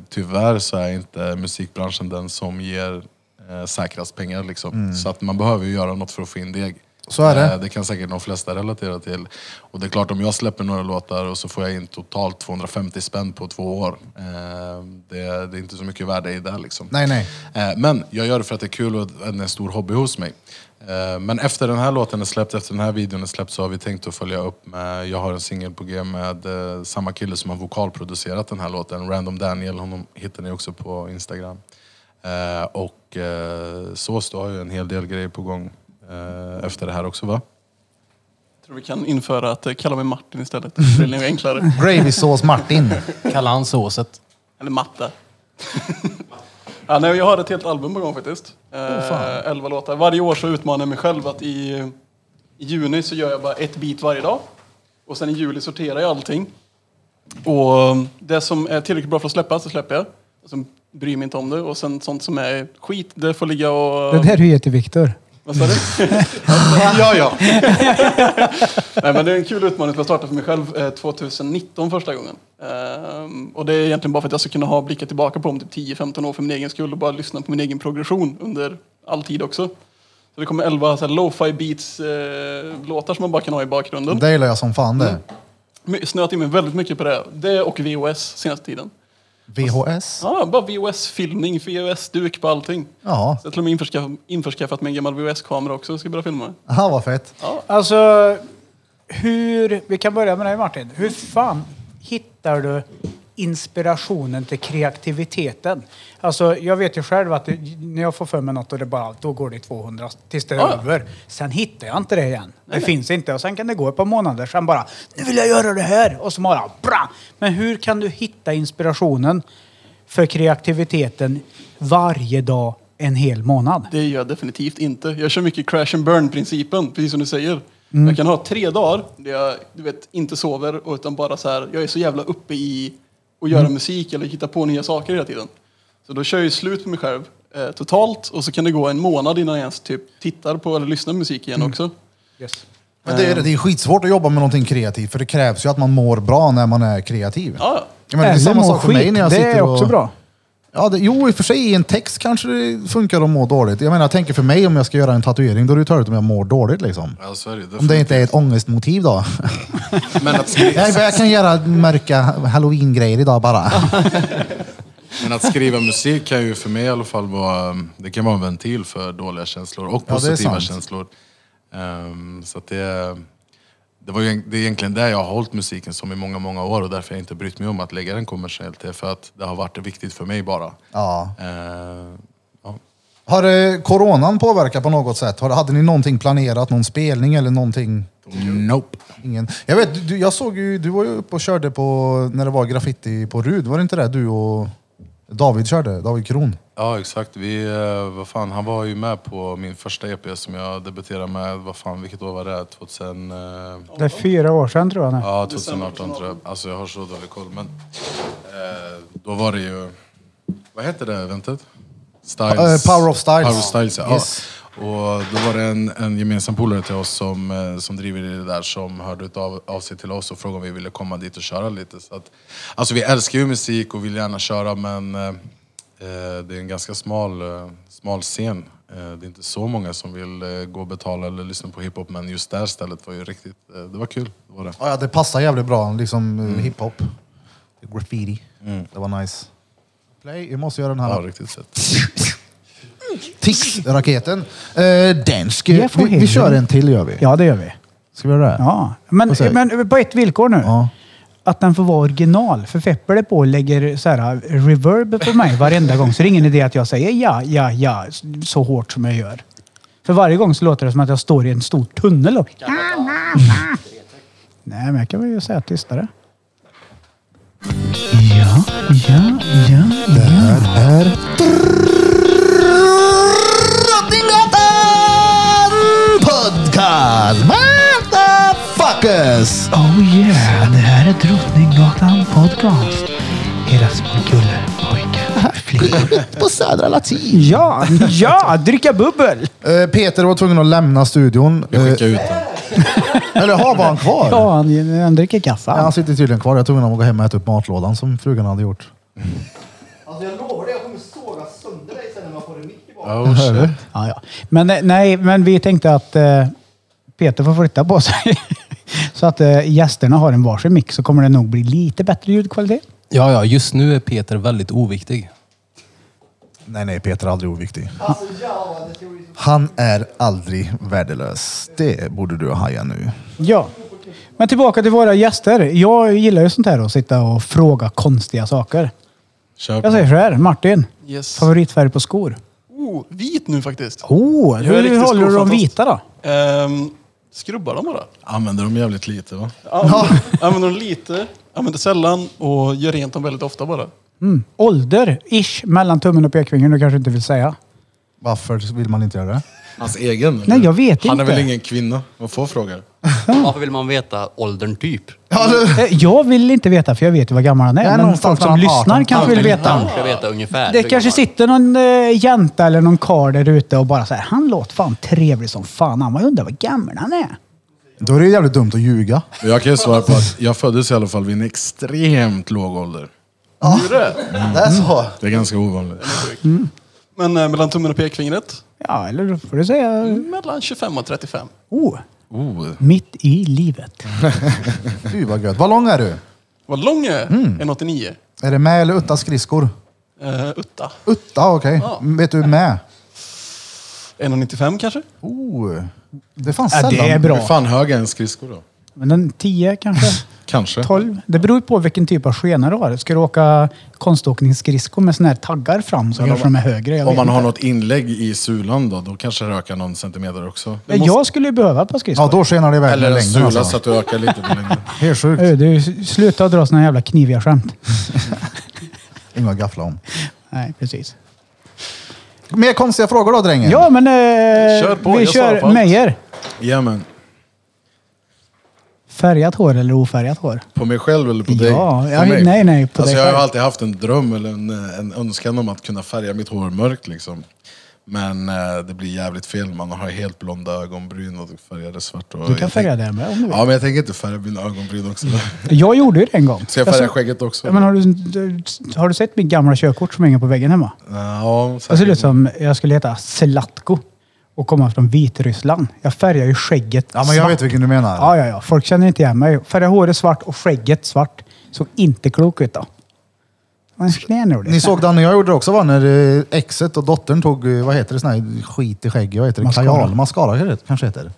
tyvärr så är inte musikbranschen den som ger eh, säkrast pengar liksom. Så att man behöver ju göra något för att få in deg.
Mm. Så är det.
Eh, Det kan säkert de flesta relatera till. Och det är klart, om jag släpper några låtar och så får jag in totalt 250 spänn på två år. eh, Det, det är inte så mycket värde i det liksom.
Nej, nej.
Eh, Men jag gör det för att det är kul och att det är en stor hobby hos mig. Eh, Men efter den här låten är släppt, efter den här videon är släppt så har vi tänkt att följa upp med, jag har en singel på g med eh, samma kille som har vokalproducerat den här låten, Random Daniel, honom hittar ni också på Instagram. Eh, Och eh, Sås, du har ju en hel del grejer på gång eh, efter det här också va?
tror vi kan införa att eh, kalla mig Martin istället. Det blir enklare.
Gravysås Martin.
Kalla han såset.
Eller Matte. ja, nej, jag har ett helt album på gång faktiskt. Eh, elva låtar. Varje år så utmanar jag mig själv att i, i juni så gör jag bara ett beat varje dag. Och sen i juli sorterar jag allting. Och um, det som är tillräckligt bra för att släppa så släpper jag. Och sen bryr jag mig inte om det. Och sen sånt som är skit, det får ligga och...
Det där är ju jätteviktor.
Vad sa du? ja, ja. Nej, men det är en kul utmaning för jag startade för mig själv eh, 2019 första gången. Ehm, och det är egentligen bara för att jag ska kunna ha blickar tillbaka på om typ 10-15 år för min egen skull och bara lyssna på min egen progression under all tid också. Så det kommer 11 så här lo-fi beats eh, låtar som man bara kan ha i bakgrunden.
Det gillar jag som fan
Mm.
det.
My- Snöat in mig väldigt mycket på det. Det och VOS senaste tiden.
VHS.
Ja, bara VOS-filmning, VOS-duk på allting.
Ja,
Så jag har till och med införskaff- införskaffat mig en gammal VOS-kamera också och ska börja filma med.
Aha, vad fett.
Alltså, hur... Vi kan börja med dig Martin. Hur fan hittar du inspirationen till kreativiteten? Alltså, jag vet ju själv att det, när jag får för mig något och det bara, då går det i 200 tills det är
Ja, ja.
över. Sen hittar jag inte det igen. det finns inte. Och sen kan det gå ett par månader. Sen bara, nu vill jag göra det här! Och så bara, bra! Men hur kan du hitta inspirationen för kreativiteten varje dag en hel månad?
Det gör jag definitivt inte. Jag kör mycket crash and burn-principen, precis som du säger. Jag kan ha tre dagar där jag du vet, inte sover, och utan bara så här, jag är så jävla uppe i att göra musik eller hitta på nya saker hela tiden. Så då kör jag ju slut på mig själv eh, totalt och så kan det gå en månad innan jag ens typ tittar på eller lyssnar på musik igen också.
Men det, är,
Ehm.
det är skitsvårt att jobba med någonting kreativt för det krävs ju att man mår bra när man är kreativ.
Ja,
Jag menar,
Eller må skit, det är också
och,
bra.
Ja, det, jo, i och för sig i en text kanske det funkar att må dåligt. Jag menar, jag tänker för mig om jag ska göra en tatuering då är det ju töligt om jag mår dåligt liksom.
Ja, så är det ju.
Om det inte är ett ångestmotiv då.
Men att,
Jag,
skriva,
jag kan göra mörka halloween-grejer idag bara.
men att skriva musik kan ju för mig i alla fall vara, um, det kan vara en ventil för dåliga känslor och
Ja, det är
positiva
sant.
känslor. Ehm, så att det, det, var ju, en- det är egentligen där jag har hållit musiken som i många, många år och därför har jag inte brytt mig om att lägga den kommersiellt. Det är för att det har varit viktigt för mig bara.
Ja.
Ehm, ja.
Har eh, coronan påverkat på något sätt? Har, hade ni någonting planerat? Någon spelning eller någonting?
Nope.
Ingen. Jag vet, du, jag såg ju, du var ju uppe och körde på, när det var graffiti på Rud, var det inte det du och David körde? David Kron?
Ja, exakt. Vi, eh, vad fan, han var ju med på min första EP som jag debuterade med, vad fan, vilket år var det? 2000, eh,
Det är fyra år sedan tror jag nu.
Ja, 2018 tror jag. Alltså jag har så dålig koll. Men eh, då var det ju... Vad hette det eventet? Styles.
Eh, Power of Styles.
Power of Styles, ja.
Yes.
Och då var det en, en gemensam polare till oss som, eh, som driver det där som hörde utav, av sig till oss och frågade om vi ville komma dit och köra lite. Så att, alltså vi älskar ju musik och vill gärna köra men eh, eh, det är en ganska smal, eh, smal scen. Eh, det är inte så många som vill eh, gå och betala eller lyssna på hiphop men just det här stället var ju riktigt, eh, det var kul. Det var det.
Ja, det passar jävligt bra, liksom mm. eh, hiphop. Graffiti. Det var nice. Play, vi måste göra den här.
Ja, riktigt sett.
Tix-raketen. Eh, den ska,
Jag får
vi, vi
hellre.
kör en till gör vi.
Ja, det gör vi.
Ska vi göra det?
Ja. Men,
Vad säger-
men på ett villkor nu.
Ja.
Att den får vara original. För Fepper det på och lägger så här uh, reverb på mig varenda gång. Så det är ingen idé att jag säger ja, ja, ja så hårt som jag gör. För varje gång så låter det som att jag står i en stor tunnel och... Nej, men jag kan väl säga tystare. Ja, ja, ja, ja.
Drottninggatan podcast! Motherfuckers!
Oh yeah, det här är Drottninggatan Podcast. Era små gulle pojkar flickor.
På Södra Latin.
Ja, ja, dricka bubbel!
Eh, Peter var tvungen att lämna studion. Eh,
Skicka ut den.
eller har var han kvar?
Ja, han, han dricker kaffe.
Ja, Han sitter tydligen kvar. Jag tog honom att gå hem och äta upp matlådan som frugan hade gjort.
Alltså jag lovar dig, jag kommer såga sönder dig sen när man får en mick tillbaka.
Oh, shit.
Ja, ja. Men eh, nej, men vi tänkte att eh, Peter får flytta på sig. så att eh, gästerna har en varsin mick så kommer det nog bli lite bättre ljudkvalitet.
Ja, ja, just nu är Peter väldigt oviktig.
Nej, nej, Peter är aldrig oviktig.
Alltså,
Han är aldrig värdelös. Det borde du haja nu.
Ja. Men tillbaka till våra gäster. Jag gillar ju sånt här att sitta och fråga konstiga saker.
Kör
Jag
på.
säger så här, Martin.
Yes.
Favoritfärg på skor?
Oh, vit nu faktiskt.
Oh,
Jag är
hur
riktigt
håller du de
skofantast.
vita då?
Ehm, skrubbar dem bara.
Använder dem jävligt lite va?
Använder, använder dem lite, använder sällan och gör rent dem väldigt ofta bara.
Mm. Ålder, ish, mellan tummen och pekfingern. Du kanske inte vill säga.
Varför vill man inte göra det?
Hans egen? eller?
Nej, jag vet
Han är
inte.
väl ingen kvinna? Man får frågor.
Varför vill man veta åldern typ?
Eh, Jag vill inte veta för jag vet ju vad gammal han är.
Jag är
men
någonstans
folk som
mellan
lyssnar
18.
kanske vill veta.
Han ska veta ungefär.
Det kanske sitter någon eh, jänta eller någon karl där ute och bara säger han låter fan trevlig som fan. Han man undrar vad gammal han är.
Då är det jävligt dumt att ljuga.
Men jag kan ju svara på att jag föddes i alla fall vid en extremt låg ålder.
Det är så.
Det är ganska ovanligt.
Men eh, mellan tummen och pekfingret,
Ja, eller då får du säga
mellan 25 och 35.
oh,
Oh.
mitt i livet.
Fy vad gött. Vad lång är du?
Vad lång jag är! 1,89.
Är det med eller utta skridskor?
Uh, utta.
Utta, okej. Mm,
Ja.
Vet du med?
1,95 kanske?
Oh, det fanns
Ja,
sällan.
det är
Hur
bra.
fan hög är en skridsko då?
Men en 10 kanske?
Kanske.
12? Det beror ju på vilken typ av skena du har. Ska du åka konståkningsskridskor med såna här taggar fram så kanske de är högre. Jag vet
Om man har
inte.
något inlägg i sulan då, då kanske det ökar någon centimeter också.
Ja, Jag skulle ju behöva ett par skridskor.
Ja, då skenar det iväg
Eller
med
en
längden.
sula så
Alltså.
att du ökar lite på längden.
Helt sjukt.
Ö, Du, sluta dra såna jävla kniviga skämt.
Inga att gaffla om.
Nej, precis.
Mer konstiga frågor då, drängen.
Ja, men eh,
Kör på,
vi
jag svarar på
kör
allt.
Meyer.
Jajamän.
Färgat hår eller ofärgat hår?
På mig själv eller på dig?
Ja, ja,
på mig.
nej, nej, på dig
Alltså, jag har ju
själv.
alltid haft en dröm eller en, eh, en önskan om att kunna färga mitt hår mörkt. Liksom. Men eh, det blir jävligt fel. Man har helt blonda ögonbryn och färgar det svart. Och
Du kan
jag
färga
tänk-
det Mm. med om du vill.
Ja, men jag tänker inte färga mina ögonbryn också.
Jag gjorde ju det en gång.
Ska jag färga
sa-
skägget också?
Ja, Men har, du, har du sett mitt gamla körkort som hänger på väggen hemma?
Ja,
Jag ser ut
säkert.
som jag skulle heta Zlatko och komma från Vitryssland. Jag färgar ju skägget
Ja, men jag
svart.
vet vilken du menar.
Ja, ja, ja. Folk känner inte igen mig. Färgar håret svart och skägget svart. Såg inte klok ut då. Men snälla
Ni såg den när jag gjorde det också va? När eh, exet och dottern tog, eh, vad heter det, sån här skit i skägget. Vad heter det?
Mascara. Mm.
Kajal? Mascara heter det- kanske heter.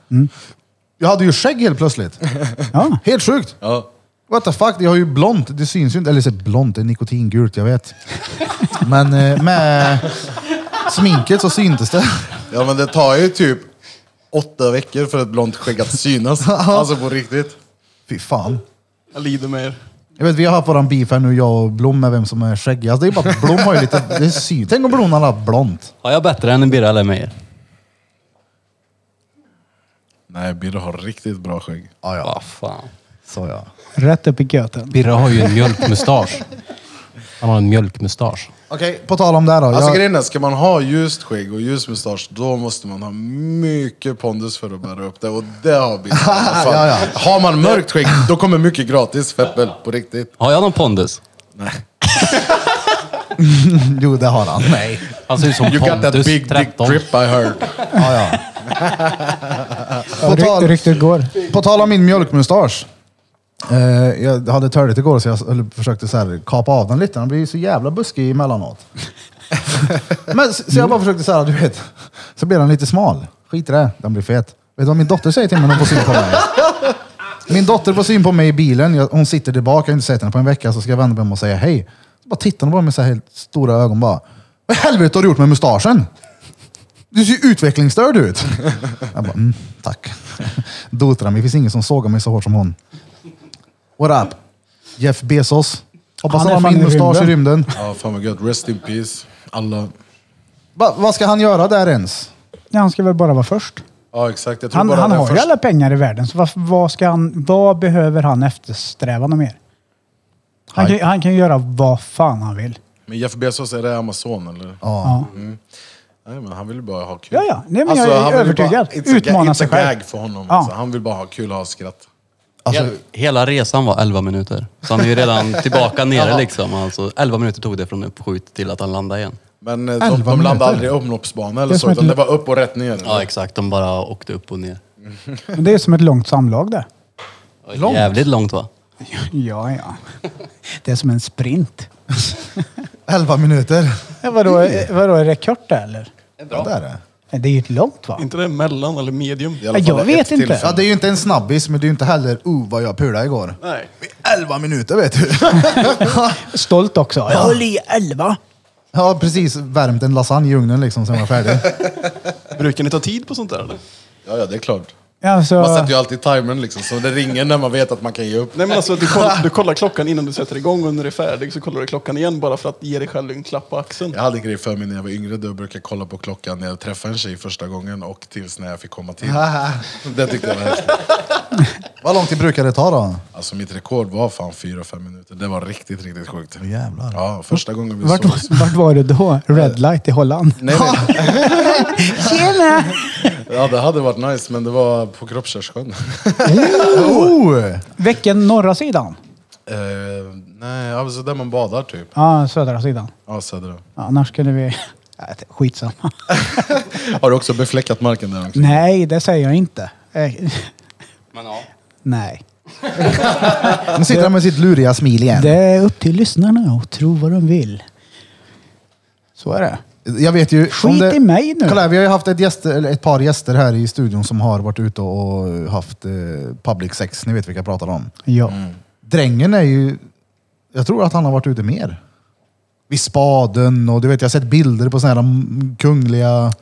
Jag hade ju skägg helt plötsligt.
Ja.
Helt sjukt!
Ja.
What the fuck? Jag har ju blont. Det syns ju inte. Eller så blont, det är nikotingult, jag vet. Men eh, med sminket så syntes det.
ja, men det tar ju typ åtta veckor för ett blont skägg att synas. alltså på riktigt.
Fy fan.
Jag lider med er.
Jag vet, vi har haft våran beef här nu, jag och Blom, med vem som är skäggigast. det är ju bara att Blom har ju lite... Det syns. Tänk om Blom hade haft blont.
Har jag bättre än en Birra eller Meyer?
Nej, Birre har riktigt bra skägg.
Ja, ja.
Vad Ah, fan.
Så ja.
Rätt upp i göten.
Birra har ju en mjölkmustasch. Han har en mjölkmustasch.
Okej, på tal om det här då.
Alltså
jag,
grejen är, ska man ha ljust skägg och ljus mustasch, då måste man ha mycket pondus för att bära upp det. Och det har vi. Fan.
Ja, ja.
Har man mörkt skägg, då kommer mycket gratis feppel. På riktigt.
Har jag någon pondus?
Jo, det har han. Nej.
Han
Alltså,
ser ut som
You got that
Pontus,
big dick
13.
drip I heard.
Ja, ja.
Ja,
På
ry-
tal,
Ryktet går.
på tal om min mjölkmustasch. Eh, jag hade törligt igår så jag höll- försökte så här, kapa av den lite. Den blir ju så jävla buskig emellanåt. Men, så så jag bara
Mm.
försökte så här, du vet. Så blir den lite smal. Skit i det, den blir fet. Vet du vad min dotter säger till mig när hon får syn på mig? Min dotter får syn på mig i bilen. Jag, hon sitter tillbaka, jag har inte sett henne på en vecka. Så ska jag vända mig om och säga hej. Så bara tittar hon på mig med så här helt stora ögon bara. Vad i helvete har du gjort med mustaschen? Du ser ju utvecklingsstörd ut. Jag bara, mm, tack. Dotrar mig. Det finns ingen som sågar mig så hårt som hon. What up? Jeff Bezos. Hoppas
Han
han
är
har
fan
min
i
mustasch i
rymden.
rymden.
Ja, fan vad gött. Rest in peace. Alla.
Va, vad ska han göra där ens?
Ja, han ska väl bara vara först.
Ja, exakt. Jag tror
Han,
bara
han
den
har ju
första-
alla pengar i världen, så vad, vad, ska han, vad behöver han eftersträva något mer? Han kan, han kan göra vad fan han vill.
Men Jeff Bezos, är det Amazon eller?
Ja.
Mm. Nej, men han vill ju bara ha kul. Alltså,
Ja, ja. Nej, men jag är
han vill ju
övertygad.
Bara, it's a,
Utmana
Utmana
sig
sig
själv.
gag för honom.
Ja.
Alltså. Han vill bara ha kul och ha skratt.
Hela, hela resan var 11 minuter. Så han är ju redan tillbaka nere liksom. Alltså, 11 minuter tog det från uppskjut till att han landade igen.
Men eh,
Elva
de, de
minuter.
landade aldrig i omloppsbana
Det
eller
är som
så, utan
ett-
det var upp och rätt ner.
Ja exakt, de bara åkte upp och ner.
Men det är som ett långt samlag det. Långt?
Jävligt långt va?
Ja, ja. Det är som en sprint.
Elva minuter.
Ja, vadå, eh, vadå, är det kort det eller?
Ja, det är det.
Nej, Det är ju ett långt va?
Inte det mellan eller medium?
alla fall Jag vet ett inte. tillfälle.
Ja, det är ju inte en snabbis, men det är ju inte heller oh vad jag pulade igår.
Nej.
Elva minuter vet du.
Stolt också. Jag höll i elva.
Jag har precis värmt en lasagne i ugnen liksom sen jag var färdig.
Brukar ni ta tid på sånt där eller?
Ja, ja, det är klart.
Alltså-
Man sätter ju alltid timern liksom, så det ringer när man vet att man kan ge upp.
Nej men alltså du kollar, du kollar klockan innan du sätter igång och när du är färdig så kollar du klockan igen bara för att ge dig själv en klapp på axeln.
Jag hade en grej för mig när jag var yngre, då brukade jag kolla på klockan när jag träffade en tjej första gången och tills när jag fick komma till. det tyckte jag var häftigt.
Vad lång tid brukar det ta då?
Alltså mitt rekord var fan 4-5 minuter. Det var riktigt, riktigt sjukt.
Jävlar.
Ja, första gången vi
Vart,
sågs.
var- vart var du då? Red light i Holland?
Nej, nej.
Tjena!
Ja, det hade varit nice, men det var på Kroppskärrssjön.
Oh!
Vilken norra sidan?
Eh, nej, alltså där man badar typ.
Ja, södra sidan.
Ja, södra.
Ja, annars skulle vi... Nej, det- Skitsamma.
Har du också befläckat marken där omkring?
Nej, det säger jag inte. Eh,
Men ja.
Nej.
Nu sitter han med sitt luriga smil igen.
Det är upp till lyssnarna att tro vad de vill. Så är det.
Jag vet ju... om
Skit i mig nu.
Kolla här, vi har ju haft ett, gäster, eller ett par gäster här i studion som har varit ute och haft eh, public sex. Ni vet vilka jag pratar om.
Ja.
Mm.
Drängen är ju... Jag tror att han har varit ute mer. Vid spaden och du vet, jag har sett bilder på sådana här mm, kungliga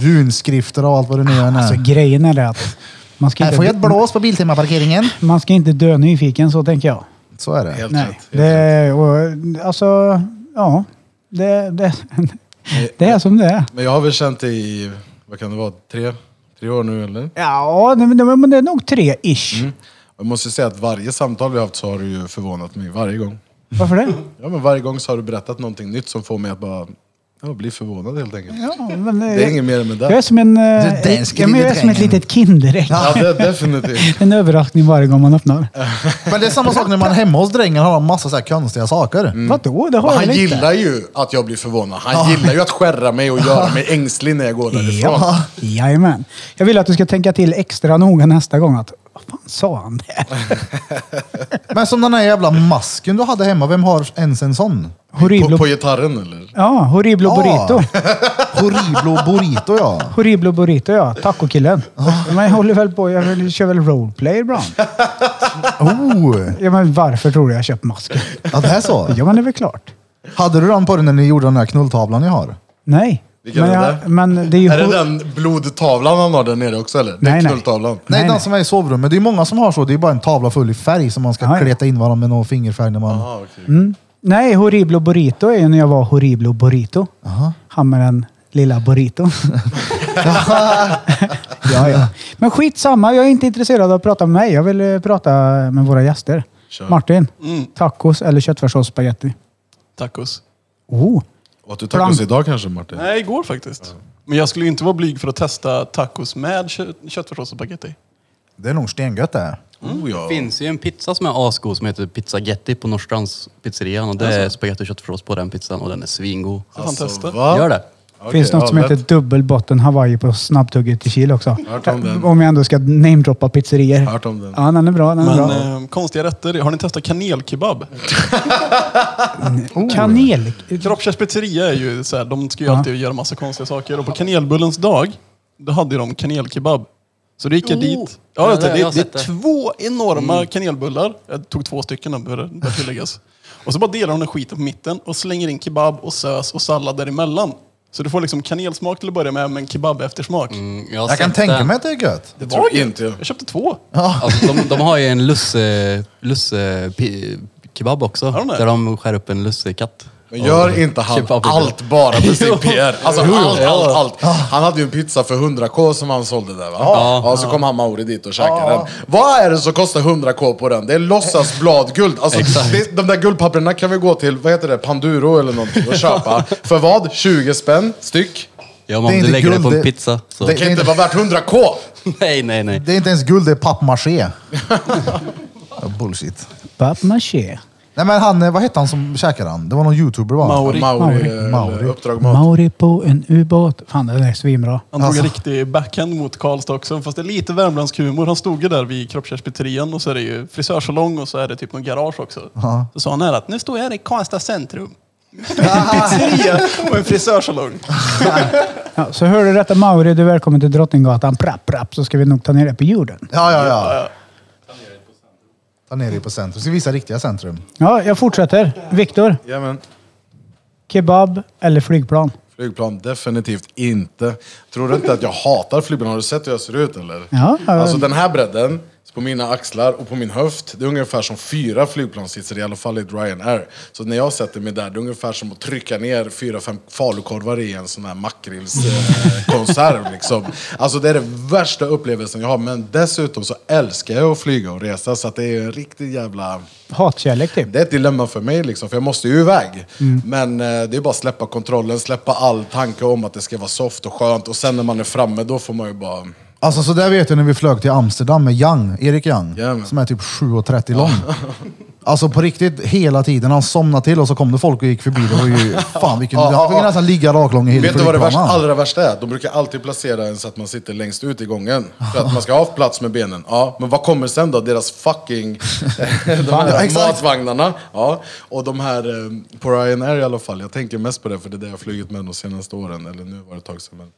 runskrifter och allt vad det nu är.
Alltså grejen är det att man ska,
här får jag ett
inte,
blås på Biltema-parkeringen.
man ska inte dö nyfiken, så tänker jag.
Så är det.
Helt
Nej.
rätt.
Det, och, alltså, ja. Det, det, det är som det är.
Men jag har väl känt dig i, vad kan det vara, tre, tre år nu eller?
Ja, det, det, men det är nog tre-ish.
Mm. Jag måste ju säga att varje samtal vi har haft så har du ju förvånat mig, varje gång.
Varför det?
Ja, men varje gång så har du berättat någonting nytt som får mig att bara ja, bli förvånad helt enkelt.
Ja, men,
Det är inget mer med
jag är
det.
som en... eh,
där
ja, men jag är som ett
skriver
litet Kinderägg.
Ja, det är definitivt.
En överraskning varje gång man öppnar.
Men det är samma sak när man är hemma hos drängen har han massa så här konstiga saker.
Vadå? Det har jag
Mm. Han
väl inte?
gillar ju att jag blir förvånad. Han gillar ju att skärra mig och göra mig ängslig när jag går därifrån.
Ja, jajamän. Jag vill att du ska tänka till extra noga nästa gång. Att, vad fan sa han det?
Men som den här jävla masken du hade hemma, vem har ens en sån?
Horriblo,
På, på gitarren eller?
ja, horriblo
Ja.
burrito.
Horriblo burrito ja.
Horriblo burrito, ja. Tacokillen. Men jag håller väl på. Jag vill- kör väl roleplay ibland.
Oh,
Ja, men varför tror du jag köpt masken?
ja, det är så.
Ja, men det är väl klart.
Hade du den på dig när ni gjorde den här knulltavlan ni har?
Nej.
Vilken
men,
är
jag,
det?
men det är ju...
Är det den blodtavlan han har där nere också eller?
Nej,
den
nej.
knulltavlan?
Nej,
Nej,
den
nej.
som är i sovrummet. Det är många som har så. Det är bara en tavla full i färg som man ska
Ja, ja.
kleta in varandra med någon fingerfärg när man...
Ah, okej.
Nej, horriblo burrito är ju när jag var horriblo burrito. Han med den lilla burriton. ja, ja. Men skitsamma, jag är inte intresserad av att prata med mig. Jag vill eh, prata med våra gäster.
Kör.
Martin,
Mm.
tacos eller köttfärssås spaghetti?
Tacos.
Oh,
Åt du tacos
Plank.
idag kanske Martin?
Nej, igår faktiskt. Men jag skulle ju inte vara blyg för att testa tacos med kö köttfärssås och spagetti.
Det är nog stengött det.
Oh, ja.
Det finns ju en pizza som är asgod som heter Pizzagetti på
Alltså.
Norrstrands pizzerian och det är spagetti och köttfärssås på den pizzan och den är svingod.
Så fan testa.
Alltså, va?
Gör det!
Finns något som heter dubbelbotten hawaii på snabbtugget i Kil också.
Hört om den.
Om jag ändå ska namedroppa pizzerier.
Hört om den.
Ja, den är bra. Den är
Men
bra.
eh, konstiga rätter. Har ni testat kanelkebab?
eh, oh.
Kanel.
Kroppskärs pizzeria är ju så här, de ska ju alltid göra massa konstiga saker. Och på kanelbullens dag, då hade ju de kanelkebab. Så då gick jag
Oh!
dit.
Ja,
Ja, det,
det- jag har
det, det
sett
är
det. Mm.
två enorma kanelbullar. Jag tog två stycken, då behöver det tilläggas. Och så bara delar de den skiten på mitten och slänger in kebab och sös och sallad däremellan. Så du får liksom kanelsmak till att börja med, men kebab-eftersmak.
Jag, har
Jag kan
sett
tänka
den.
mig att det är gött.
Det
tror
var ju
inte jag.
inte. Jag köpte två.
Alltså, de, de har ju en lusse, lusse pi- kebab också.
Har de det?
där de skär upp en lussekatt.
Men gör
Och-
inte han
kebab-
allt bara för sin PR? Alltså
Jo, jo.
allt, allt, allt. Han hade ju en pizza för 100k som han sålde där va? Ja. så kom han Mauri dit och käkade den. Vad är det som kostar 100k på den? Det är låtsas bladguld. Alltså, det, de där guldpapperna kan vi gå till, vad heter det, Panduro eller någonting och köpa. för vad? 20 spänn styck?
Ja, men
Det är
om du
inte
lägger det på
guld,
en
det-
pizza så...
det-
Det kan inte vara värt 100k!
nej, nej, nej.
Det är inte ens guld, det är pappmaché. Ja, Bullshit.
Pappmaché.
Nej men han, eh, vad hette han som käkade han? Det var någon youtuber va?
Mauri.
Mauri,
Mauri.
eh,
Mauri.
Uppdrag Mat.
Mauri på en ubåt. Fan, den är svinbra.
Han tog en riktig backhand mot Karlstad också, fast det är lite värmländsk humor. Han stod ju där vid kroppskärspizzerian och så är det ju frisörsalong och så är det typ någon garage också. Så sa han här att nu står jag här i Karlstad centrum. Pizzeria och en frisörsalong.
Ja, så hör du detta Mauri, du är välkommen till Drottninggatan. Prapp, prapp, så ska vi nog ta ner det på jorden.
Ja, ja, ja. Ta ner dig på centrum. Ska visa riktiga centrum.
Ja, jag fortsätter. Viktor,
Jajamän.
kebab eller flygplan?
Flygplan, definitivt inte. Tror du inte att jag hatar flygplan? Har du sett hur jag ser ut eller?
Ja, ja.
Alltså den här bredden, på mina axlar och på min höft, det är ungefär som fyra flygplanssitsar, i alla fall i ett Ryanair. Så när jag sätter mig där, det är ungefär som att trycka ner fyra, fem falukorvar i en sån här makrillskonserv. liksom. Alltså det är den värsta upplevelsen jag har. Men dessutom så älskar jag att flyga och resa, så att det är en riktig jävla...
Hatkärlek typ.
Det är ett dilemma för mig, liksom, för jag måste ju iväg. Men eh, det är bara att släppa kontrollen, släppa all tanke om att det ska vara soft och skönt. Och sen när man är framme, då får man ju bara...
Alltså så där vet jag när vi flög till Amsterdam med Young, Erik Young,
Jajamän.
som är typ 7,30 lång. Alltså på riktigt, hela tiden. Han somnade till och så kom det folk och gick förbi. Det var ju, fan vilken...
Ja,
Han fick
ja.
nästan ligga raklång i hela
Vet du vad det värsta,
flygplanet.
allra värsta är? De brukar alltid placera en så att man sitter längst ut i gången. För att man ska ha plats med benen. Ja, men vad kommer sen då? Deras fucking... de
Ja,
här
exakt.
matvagnarna. Ja, och de här... eh, På Ryanair i alla fall. Jag tänker mest på det för det är det jag har flugit med de senaste åren. Eller nu var det ett tag sedan. Men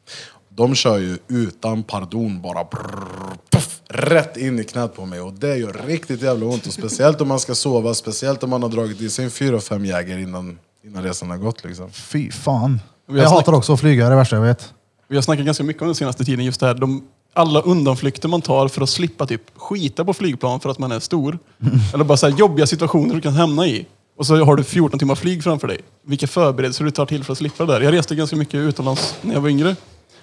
de kör ju utan pardon bara brrr, puff, rätt in i knät på mig. Och det gör riktigt jävla ont. Och speciellt om man ska sova. Speciellt om man har dragit i sig en fyra, fem jäger innan, innan resan har gått. Liksom.
Fy fan.
Vi har
Jag
snackat-
hatar också att flyga, det är det värsta jag vet.
Vi har snackat ganska mycket om den senaste tiden, just det här. De, alla undanflykter man tar för att slippa typ skita på flygplan för att man är stor. Eller bara så här jobbiga situationer du kan hamna i. Och så har du 14 timmar flyg framför dig. Vilka förberedelser du tar till för att slippa det där. Jag reste ganska mycket utomlands när jag var yngre.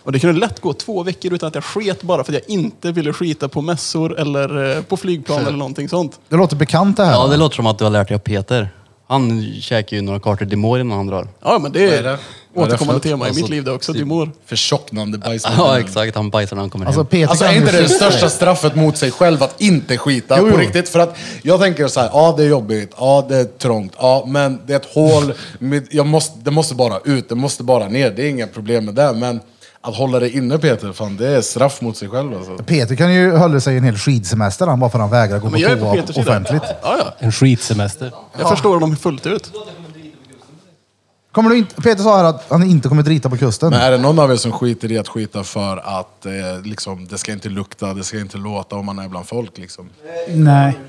Och det kunde lätt gå två veckor utan att jag sket bara för att jag inte ville skita på mässor eller eh, på flygplan eller någonting sånt.
Det låter bekant det här.
Ja, det låter som att du har lärt dig av Peter. Han käkar ju några kartor Dimor innan han drar.
Ja, men det
Vad
är,
är det? Vad är det
återkommande
för något?
tema i mitt
Alltså,
liv det också.
typ-
Dimor.
Förtjocknande bajs.
Ja, exakt. Han bajsar när han kommer
Alltså
hem.
Peter
Alltså
kan
är
ju
inte det det
skita i.
största straffet mot sig själv att inte skita
Jo,
på
jo.
riktigt? För att jag tänker så här, ja det är jobbigt, ja det är trångt, ja men det är ett hål, med, jag måste, det måste bara ut, det måste bara ner, det är inga problem med det. Men att hålla det inne Peter, fan det är straff mot sig själv alltså.
Peter kan ju hålla sig i en hel skidsemester han, bara för att han vägrar gå på
Men jag är på
toa
Peters sida.
offentligt.
Ja, ja.
En skitsemester.
Jag förstår dem fullt ut.
Kommer du inte, Peter sa här att han inte kommer drita på kusten.
Men är det någon av er som skiter i att skita för att eh, liksom, det ska inte lukta, det ska inte låta om man är bland folk liksom?
Nej.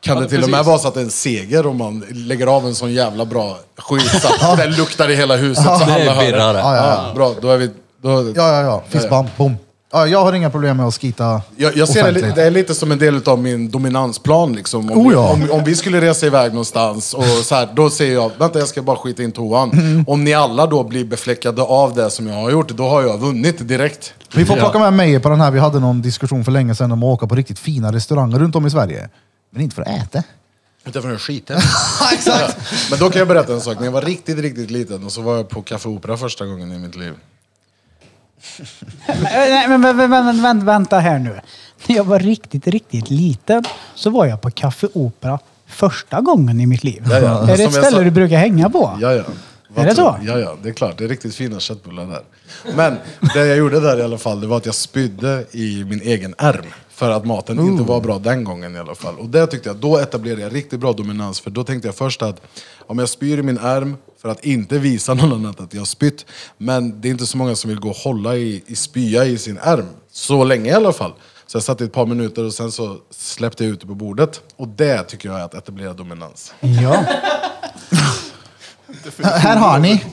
Kan det till och med vara så att det är en seger om man lägger av en sån jävla bra skit så att den luktar i hela huset så
det
alla
är
hör det?
birrare.
Ja, ja,
Ja, bra, då är vi... Då,
Ja, ja, ja. Fistbump, boom. Ja, jag har inga problem med att skita
jag, jag ser det, li-
offentligt.
det är lite som en del av min dominansplan. Liksom. Om,
Oh, ja.
om, om vi skulle resa iväg någonstans, och så här, då säger jag vänta jag ska bara skita in toan.
Mm.
Om ni alla då blir befläckade av det som jag har gjort, då har jag vunnit direkt.
Vi får plocka med mig på den här. Vi hade någon diskussion för länge sedan om att åka på riktigt fina restauranger runt om i Sverige. Men inte för att äta.
Utanför den skiten. Exakt. Men då kan jag berätta en sak. När jag var riktigt, riktigt liten och så var jag på Café Opera första gången i mitt liv.
Äh, Nej, men vä- vä- vä- vä- vänta här nu. När jag var riktigt, riktigt liten så var jag på Café Opera första gången i mitt liv.
Ja, ja.
Är det
Som
ett
jag
ställe
sa-
du brukar hänga på?
Ja, ja.
Är det så?
Ja, ja, det är klart. Det är riktigt fina köttbullar där. Men det jag gjorde där i alla fall, det var att jag spydde i min egen ärm. För att maten inte var bra den gången i alla fall. Och det tyckte jag, då etablerade jag riktigt bra dominans. För då tänkte jag först att om jag spyr i min ärm för att inte visa någon annan att jag har spytt. Men det är inte så många som vill gå och hålla i, i spya i sin ärm. Så länge i alla fall. Så jag satt i ett par minuter och sen så släppte jag ut det på bordet. Och det tycker jag är att etablera dominans.
Ja.
Här har ni.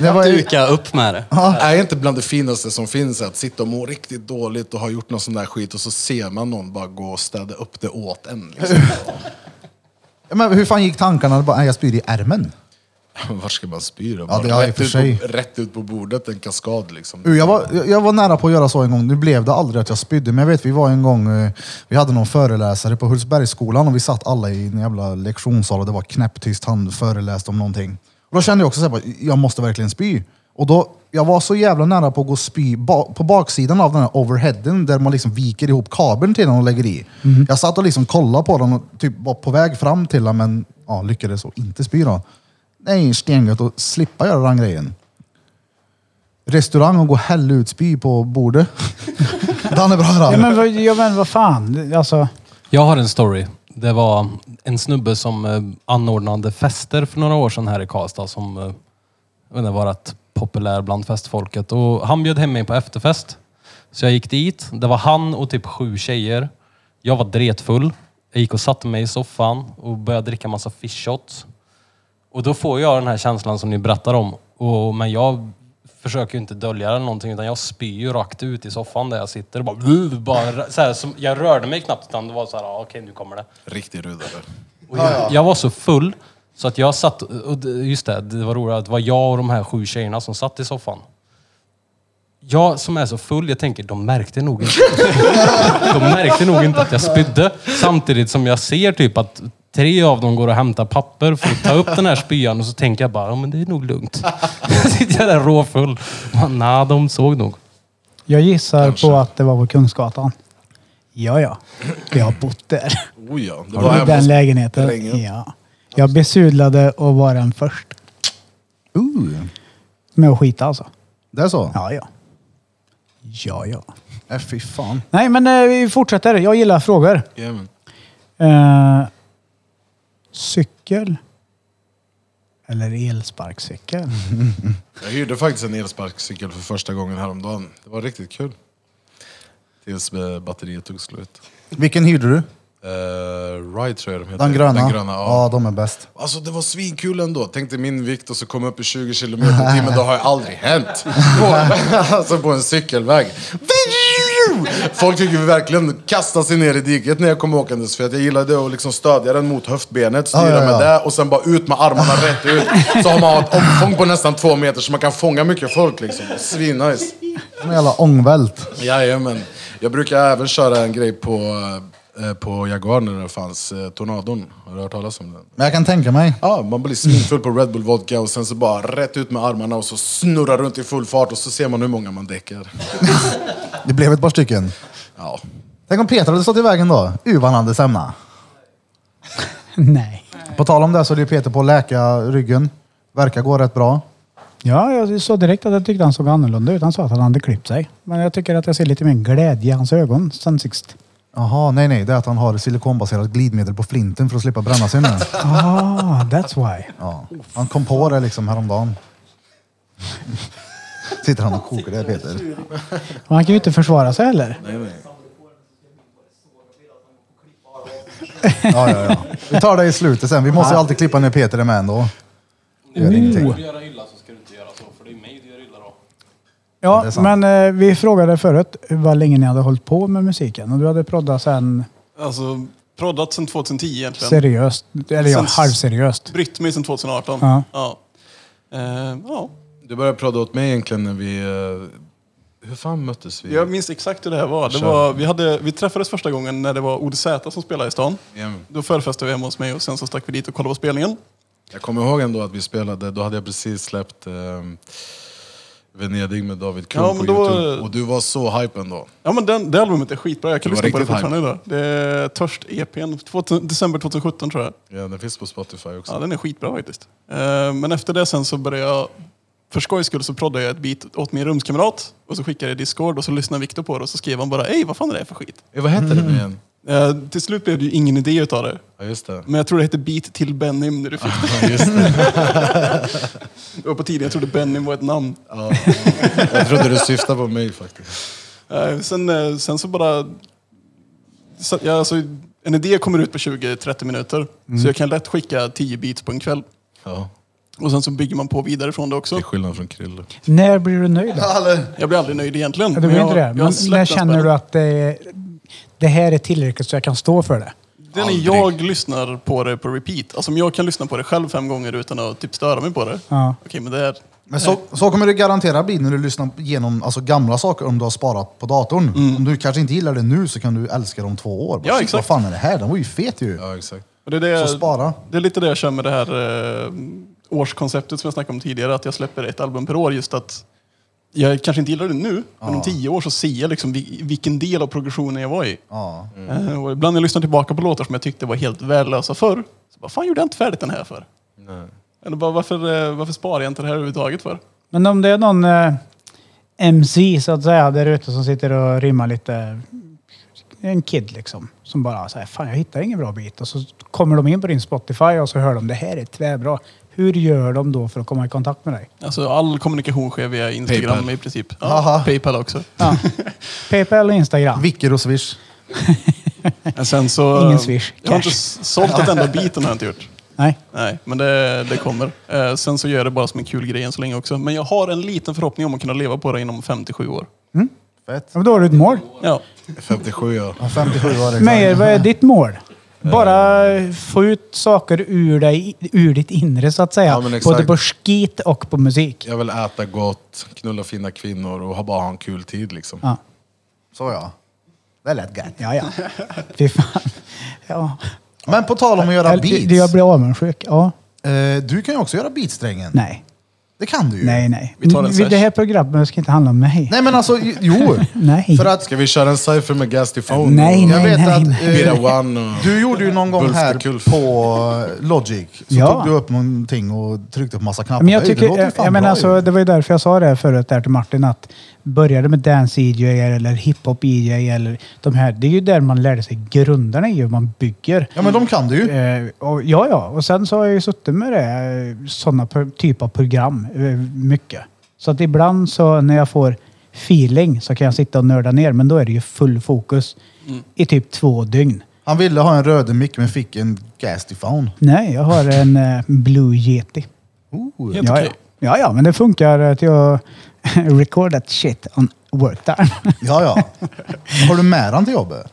Det var ju...
Duka upp med det.
Är inte bland det finaste som finns att sitta och må riktigt dåligt och ha gjort någon sån där skit och så ser man någon bara gå och städa upp det åt en. Liksom.
Men hur fan gick tankarna? Bara, nej, Jag spyr i ärmen.
Var ska man spy då?
Ja, det
Bara
har jag i och
rätt,
för
ut
sig.
på, rätt ut på bordet, en kaskad liksom.
Uh, Jag var, jag- jag var nära på att göra så en gång. Nu blev det aldrig att jag spydde, men jag vet vi var en gång, eh, vi hade någon föreläsare på Hultsbergsskolan och vi satt alla i en jävla lektionssal och det var knäpptyst. Han föreläste om någonting. Och då kände jag också så här, bara, jag måste verkligen spy. Och då, jag var så jävla nära på att gå och spy ba- på baksidan av den här overheaden där man liksom viker ihop kabeln till den och lägger i. Jag satt och liksom kollade på den och typ var på väg fram till den, men ja, lyckades och inte spy då. Det är stengött att slippa göra den grejen restaurang och gå och hälla ut spy på bordet. Den är bra
Ja,
den.
men, vad- ja, men vad fan. Alltså,
Jag har en story. Det var en snubbe som eh, anordnade fester för några år sedan här i Karlstad som eh, jag vet inte, var rätt populär bland festfolket. Och han bjöd hem mig på efterfest. Så jag gick dit. Det var han och typ sju tjejer. Jag var dretfull. Jag gick och satte mig i soffan och började dricka massa fish shots. Och då får jag den här känslan som ni berättar om. Och, men jag försöker ju inte dölja den någonting utan jag spyr ju rakt ut i soffan där jag sitter. Och bara, "Ugh", bara, så här, som, jag rörde mig knappt utan det var så här, ah, okej nu kommer det.
Riktig rudare.
Och jag, jag var så full så att jag satt, och det- just det, det var roligt att det var jag och de här sju tjejerna som satt i soffan. Jag som är så full, jag tänker de märkte nog inte. De märkte nog inte att jag spydde. Samtidigt som jag ser typ att tre av dem går och hämtar papper för att ta upp den här spyan och så tänker jag bara, ja men det är nog lugnt. Sitter jag där råfull. Man, Nej, de såg nog.
jag gissar på att det var på Kungsgatan. Ja, ja. Jag har bott där.
Oh ja, det
I
hemma
den
hos
lägenheten.
drängen.
Ja. Jag besudlade och var den först.
Uh,
Med att skita alltså.
det är så?
Ja, ja. Ja, ja.
Äh, fy fan.
Nej, men eh, vi fortsätter. Jag gillar frågor.
Jajamän.
Eh, cykel? Eller elsparkcykel?
Jag hyrde faktiskt en elsparkcykel för första gången häromdagen. Det var riktigt kul. Tills eh, batteriet tog slut.
Vilken hyrde du?
Uh, Ride tror jag de heter.
Den gröna?
Den gröna ja.
de är bäst.
Alltså det var svinkul ändå. Tänkte min vikt och så kom jag upp i 20 kilometer i timmen. Det har ju aldrig hänt. På, alltså på en cykelväg. Folk tycker ju verkligen kasta sig ner i diket när jag kom åkandes. För att jag gillade att liksom stödja den mot höftbenet, styra
Ja, ja, ja.
med det och sen bara ut med armarna rätt ut. Så har man ett omfång på nästan två meter så man kan fånga mycket folk liksom. Svinnice.
De är jävla ångvält.
Jajamän. Jag brukar även köra en grej på, eh, på Jaguar när det fanns eh, Tornadon. Har du hört talas om den?
Men jag kan tänka mig.
Ja, man blir svinfull på Red Bull Vodka och sen så bara rätt ut med armarna och så snurrar runt i full fart och så ser man hur många man däckar.
Det blev ett par stycken.
Ja.
Tänk om Peter hade stått i vägen då. Uh, vad han hade sämna.
Nej.
På tal om det så är det ju Peter på att läka ryggen. Verkar gå rätt bra.
Ja, jag såg direkt att jag tyckte han såg annorlunda ut. Han sa att han hade klippt sig. Men jag tycker att jag ser lite mer glädje i hans ögon sen sist.
Jaha, nej nej. Det är att han har silikonbaserat glidmedel på flinten för att slippa bränna sig nu.
Ah, that's why.
Ja. Han kom på det liksom häromdagen. Sitter han och kokar det Peter?
Och han kan ju inte försvara sig heller.
Ja, ja, ja. Vi tar det i slutet sen. Vi måste ju alltid klippa när Peter är med ändå. Det
Oh.
gör ingenting.
göra illa så ska du inte göra så, för det är mig du gör illa då.
Ja,
Det är sant.
men eh, vi frågade förut vad länge ni hade hållit på med musiken. Och du hade proddat sen
Alltså, proddat sedan 2010 egentligen.
seriöst. Eller ja,
Sen-
halvseriöst.
Brytt mig sedan 2018.
Ja.
Ja. Eh, ja.
Du började prata åt mig egentligen när vi... eh, Hur fan möttes vi?
Jag minns exakt hur det här var. Det var vi, hade, vi träffades första gången när det var ODZ som spelade i stan.
Jajamän.
Då förfestade vi hemma hos mig och sen så stack vi dit och kollade på spelningen.
Jag kommer ihåg ändå att vi spelade, då hade jag precis släppt eh, Venedig med David Kuhn
Ja,
på
men då-
Youtube. Och du var så hype ändå.
Ja men den, det albumet är skitbra, jag kan
Det var
lyssna på det
riktigt
fortfarande idag. Det är Törst-EPn, 2000 december 2017 tror jag.
Ja, den finns på Spotify också.
Ja, den är skitbra faktiskt. Eh, Men efter det sen så började jag, för skojs skull så proddade jag ett beat åt min rumskamrat och så skickade jag det i Discord och så lyssnade Viktor på det och så skrev han bara Ey, vad fan är det för skit?
Eh, Vad hette den nu igen?
Eh, Till slut blev det ju ingen idé utav det.
Ja, just det.
Men jag tror det hette Beat till Benim när du fick det.
Ja, just det.
Ah.
Det var på tiden jag trodde Benim var ett namn.
Ja. Jag trodde du syftade på mig faktiskt.
Eh, Sen, eh, sen så bara... Så, ja, alltså, en idé kommer ut på 20-30 minuter.
Mm.
Så jag kan lätt skicka 10 beats på en kväll.
Ja,
Och sen så bygger man på vidare från det också.
till skillnad från Krille.
När blir du nöjd då?
Jag blir aldrig nöjd egentligen.
Ja, det blir
men
inte
jag-
det.
jag
Men
har
när
släppt den
känner
spärren.
du att det, det här är tillräckligt så jag kan stå för det?
Det är när jag lyssnar på det på repeat. Alltså om jag kan lyssna på det själv fem gånger utan att typ störa mig på det.
Ja.
Okej, men det är...
Men så, så kommer det garanterat bli när du lyssnar igenom alltså, gamla saker om du har sparat på datorn. Om du kanske inte gillar det nu så kan du älska det om två år. Bara,
Ja,
"Shit,
exakt.
Vad fan är det här? Den var ju fet ju.
Ja, exakt.
Och det, är det,
Så spara.
det är lite det jag kör med det här eh, årskonceptet som jag snackade om tidigare. Att jag släpper ett album per år. Just att jag kanske inte gillar det nu, men om tio år så ser jag liksom vi- vilken del av progressionen jag var i.
Ja.
Eh, och ibland när jag lyssnar tillbaka på låtar som jag tyckte var helt värdelösa förr. Så bara, fan gjorde jag inte färdigt den här för? Eller bara, varför, eh, varför sparar jag inte det här överhuvudtaget för?
Men om det är någon eh, MC så att säga där ute som sitter och rimmar lite. En kid liksom. Som bara säger fan jag hittar ingen bra bit. Och så kommer de in på din Spotify och så hör de det här är tvärbra. Hur gör de då för att komma i kontakt med dig?
Alltså all kommunikation sker via Instagram
Paypal.
i princip.
Aha.
Ja, Paypal också.
Paypal och Instagram.
Vicker och Swish.
Men sen så, eh,
Ingen Swish.
Jag har inte
Cash.
s- sålt ett enda biten har jag inte gjort.
Nej.
Nej, men det, det kommer. Eh, sen så gör jag det bara som en kul grej än så länge också. Men jag har en liten förhoppning om att kunna leva på det inom 57 år.
Fett.
Ja, men då har du ett mål.
Ja,
57 ja.
Ja, 57 år exakt.
Meyer, vad är ditt mål? Bara
Eh.
få ut saker ur, dig, ur ditt inre så att säga.
Ja, men exakt.
Både på skit och på musik.
Jag vill äta gott, knulla fina kvinnor och ha- bara ha en kul tid liksom.
Ja,
Så ja. Det lät gött.
ja. ja. Fy fan. Ja.
Men på tal om att göra
Eller,
beats.
det- Jag blir avundsjuk. Ja.
Eh, du kan ju också göra beatsträngen.
Nej.
Det kan du ju.
Nej, nej.
Vi tar en
Vi- Det här programmet ska inte handla om mig.
Nej men alltså, ju- jo.
Nej.
För att
Ska vi köra en cypher med Gastifone?
Nej,
jag
nej,
vet
nej.
att
nej.
eh,
Bira One och...
du gjorde ju någon gång
Bulls
här
för kulf.
på eh, Logic. Så
Ja.
tog du upp någonting och tryckte på massa knappar.
Men jag
Det
tycker,
låter ju
jag,
fan
jag
bra
menar
ju.
alltså, det var ju därför jag sa det här förut där till Martin att började med dance DJ eller hiphop DJ eller de här. Det är ju där man lärde sig grunderna i hur man bygger.
Ja men de kan du ju.
Eh, och, ja, ja. Och sen så har jag ju suttit med det, eh, sådana typer av program eh, mycket. Så att ibland så när jag får feeling så kan jag sitta och nörda ner, men då är det ju full fokus
Mm.
i typ två dygn.
Han ville ha en röd mick men fick en Gastifone.
Nej, jag har en eh, Blue Yeti.
Oh.
helt
ja,
okej.
ja. ja, ja, men det funkar eh, till att record that shit on work time.
Ja, ja. Har du med den till jobbet?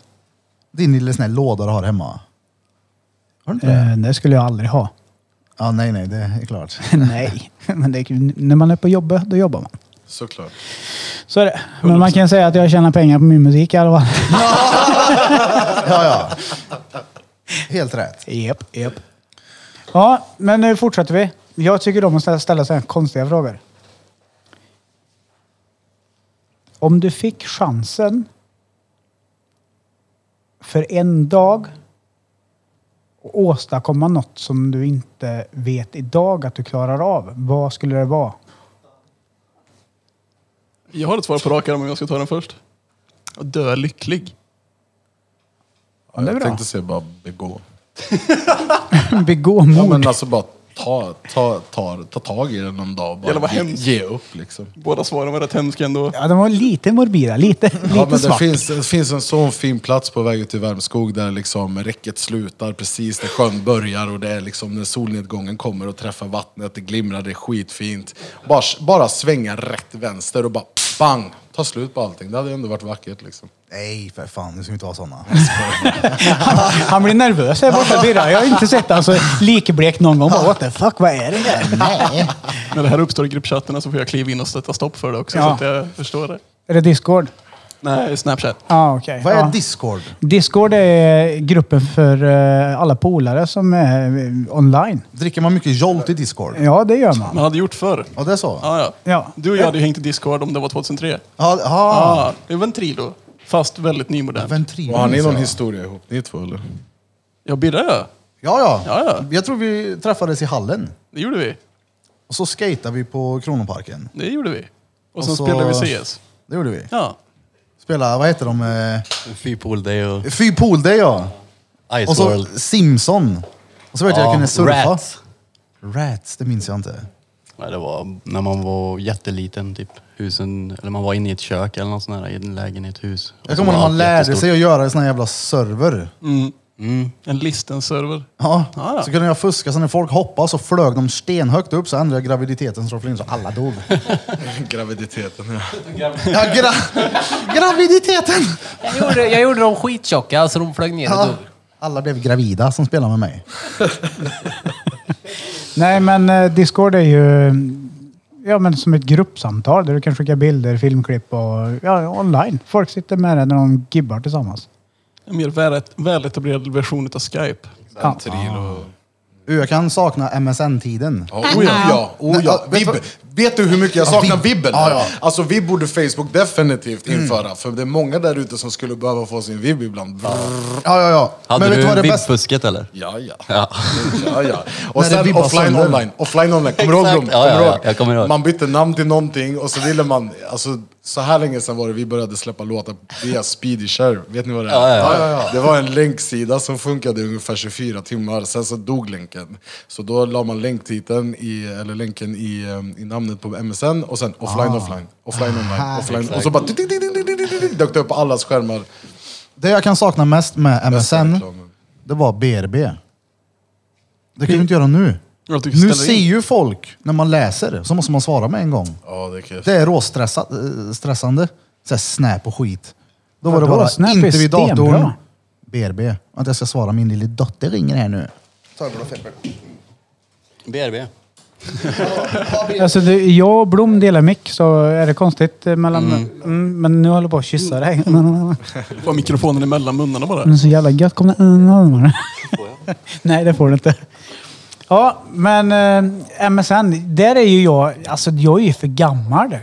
Din lilla sån här låda du har hemma? Har du inte det?
Eh, det skulle jag aldrig ha.
Ja, nej, nej, det är klart.
Nej, men det, är kul. när man är på jobbet, då jobbar man.
Såklart.
Så är det. Men man kan säga att jag tjänar pengar på min musik i alla fall.
Ja, ja. Helt rätt.
Jep, jep. Ja, men nu fortsätter vi. Jag tycker om att ställa- ställa sådana konstiga frågor. Om du fick chansen för en dag att åstadkomma något som du inte vet idag att du klarar av, vad skulle det vara?
Jag har ett svar på rak arm om jag ska ta den först. Att dö lycklig.
Ja,
det är
jag
bra.
tänkte säga bara begå.
Begå
Ja,
mord.
men alltså bara ta, ta, ta, ta tag i det någon dag. och Bara
Eller vad
ge,
hemskt.
ge upp liksom.
Båda svaren var rätt hemska ändå.
Ja, de var lite morbida, lite, lite
Ja, men det,
svart.
finns, det finns en sån fin plats på väg ut till Värmskog där liksom räcket slutar precis där sjön börjar och det är liksom när solnedgången kommer och träffar vattnet, det glimrar, det är skitfint. Bara, bara svänga rätt vänster och bara bang! Ta slut på allting. Det hade ändå varit vackert liksom.
Nej, för fan, nu ska vi inte ha såna.
Han blir nervös här borta Birra. Jag har inte sett han så likblek någon gång. Bara, What the fuck, vad är det där?
Nej.
När det här uppstår i gruppchatterna så får jag kliva in och sätta stopp för det också.
Ja.
Så att jag förstår det.
Är det Discord?
Nej, Snapchat.
Ah, okay.
Vad
ja.
är Discord?
Discord är gruppen för eh, alla polare som är eh, online.
Dricker man mycket Jolt i Discord?
Ja, det gör man.
Man hade gjort förr.
Ja, det är så?
Ja, ja.
Ja.
Du och jag hade ju hängt i Discord om det var 2003.
Ja, ah.
Ah, det är Ventrilo. Fast väldigt nymodern.
Ventrilo.
Och har ni
minns
någon
jag.
historia ihop, ni två eller?
Jag Birra ja.
Ja, ja.
Ja, ja.
Jag tror vi träffades i hallen.
Det gjorde vi.
Och så skatade vi på Kronoparken.
Det gjorde vi. Och sen
Och så-
spelade vi CS.
Det gjorde vi.
Ja.
Spela, vad heter de? eh,
Fypool Day och
Fy Pool Day ja.
Ice
Och så
World.
Simson. Och så vet jag jag
Ja,
kunde surfa.
Rats.
Rats, det minns jag inte.
Nej, det var när man var jätteliten, typ husen, eller man var inne i ett kök eller något sånt där, i en lägenhet, hus.
Jag kommer ihåg när man lärde sig att göra en sån här jävla server.
Mm. En listen-server.
Ja.
Ja, ja.
Så kunde jag fuska, så när folk hoppade så flög de stenhögt upp så ändrade jag graviditeten så de flög in så alla dog.
Graviditeten ja.
Ja, gra graviditeten!
Jag gjorde, jag gjorde dem skittjocka så de flög ner och
Ja.
dog.
Alla blev gravida som spelade med mig.
Nej, men eh, Discord är ju ja, men som ett gruppsamtal där du kan skicka bilder, filmklipp och ja, online. Folk sitter med det när de gibbar tillsammans.
En mer väl- väletablerad version av Skype.
Ja.
Uh, Jag kan sakna MSN-tiden.
Oh, ja. ja. Oh, ja.
Vet
Vib,
du-
vet du hur mycket jag saknar
Vib.
vibben?
Ja, ja.
Alltså vibb borde Facebook definitivt införa. För det är många där ute som skulle behöva få sin vibb ibland. Brrr.
Ja, ja, ja.
Hade
vet
du
det bästa-
vibbfusket eller?
Ja, ja.
Ja.
ja, ja. Och
När det
sen
vibbar
offline
sönder.
online. Offline online. Kommer du ihåg
Exakt.
dem?
Ja, ja,
Kommer du
ja.
ihåg?
Jag kommer ihåg.
Man bytte namn till någonting och så ville man... Alltså, så här länge sedan var det vi började släppa låtar via Speedy Share. Vet ni vad det är?
Ja, ja,
Det var en länksida som funkade i ungefär 24 timmar, sen så dog länken. Så då la man länktiteln i, eller länken i, eh, i namnet på MSN och sen offline, offline, offline, online, offline. Och så bara ding, ding, ding, ding, ding, ding, ding, dök det upp på allas skärmar.
Det jag kan sakna mest med
Bästa
MSN,
reklamen.
det var BRB. Det kan du inte göra nu.
Jag tycker
Nu
ställa in.
ser ju folk när man läser, så måste man svara med en gång.
Ja, det är kul.
Det är eh, råstressande. Såhär snap och skit. Då var det
Vadå?
bara
Snap är
inte vid datorn.
stenbra.
BRB. Att jag ska svara, min lilla dotter ringer här nu.
BRB.
Alltså, det, jag och Blom delar mick så är det konstigt eh, mellan... Mm. men nu håller jag på att kyssa dig.
Bara mikrofonen emellan munnarna bara.
Men så jävla gött. Kom det... Mm. Nej, det får du inte. Ja, men eh, MSN, där är ju jag... Alltså, jag är ju för gammal.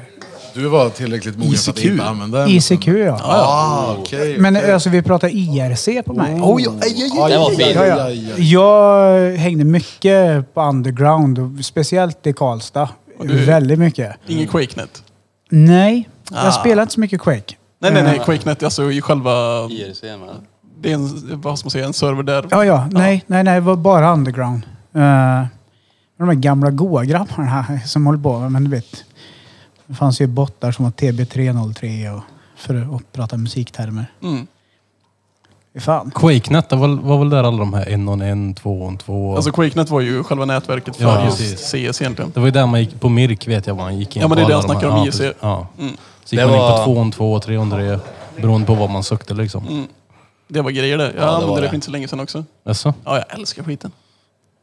Du var tillräckligt mogen för att
ICQ.
inte använda MSN.
ICQ, ja.
Ah, okej.
Men alltså, vi pratar IRC på mig.
Oj, oj, oj, oj,
Det var
oj,
fint.
oj,
Oh, Ja,
oj,
ja.
oj.
Jag hängde mycket på underground, och speciellt i Karlstad.
du-
Väldigt mycket.
Ingen QuakeNet.
Nej,
Ah.
jag spelar inte så mycket Quake.
Nej, nej, nej. QuakeNet alltså i själva...
IRC med.
Det är en, vad ska man säga, en server där.
Ja, ja. Nej, nej, nej. Det var bara underground. Eh, de här gamla goa grabbarna som håller på. Men du vet, det fanns ju bottar som var TB303 och, för att prata musiktermer.
Mm.
Fy Fan.
Quakenet, det var, var väl där alla de här en och en, två och två.
Alltså QuakeNet var ju själva nätverket för
Ja,
just
precis.
CS egentligen.
det var ju där man gick, på Mirk vet jag vad han gick in
Ja, men det är
på
det
alla
jag
de här-
snackar om,
ja,
IRC.
precis. Ja.
Mm.
Så gick
Det
man in
var-
på två och två, tre och tre, beroende på vad man sökte liksom. Mm.
Det var grejer det. Jag
det
använde
var
det
det.
för inte så länge sedan också.
Alltså,
Ja, jag älskar skiten.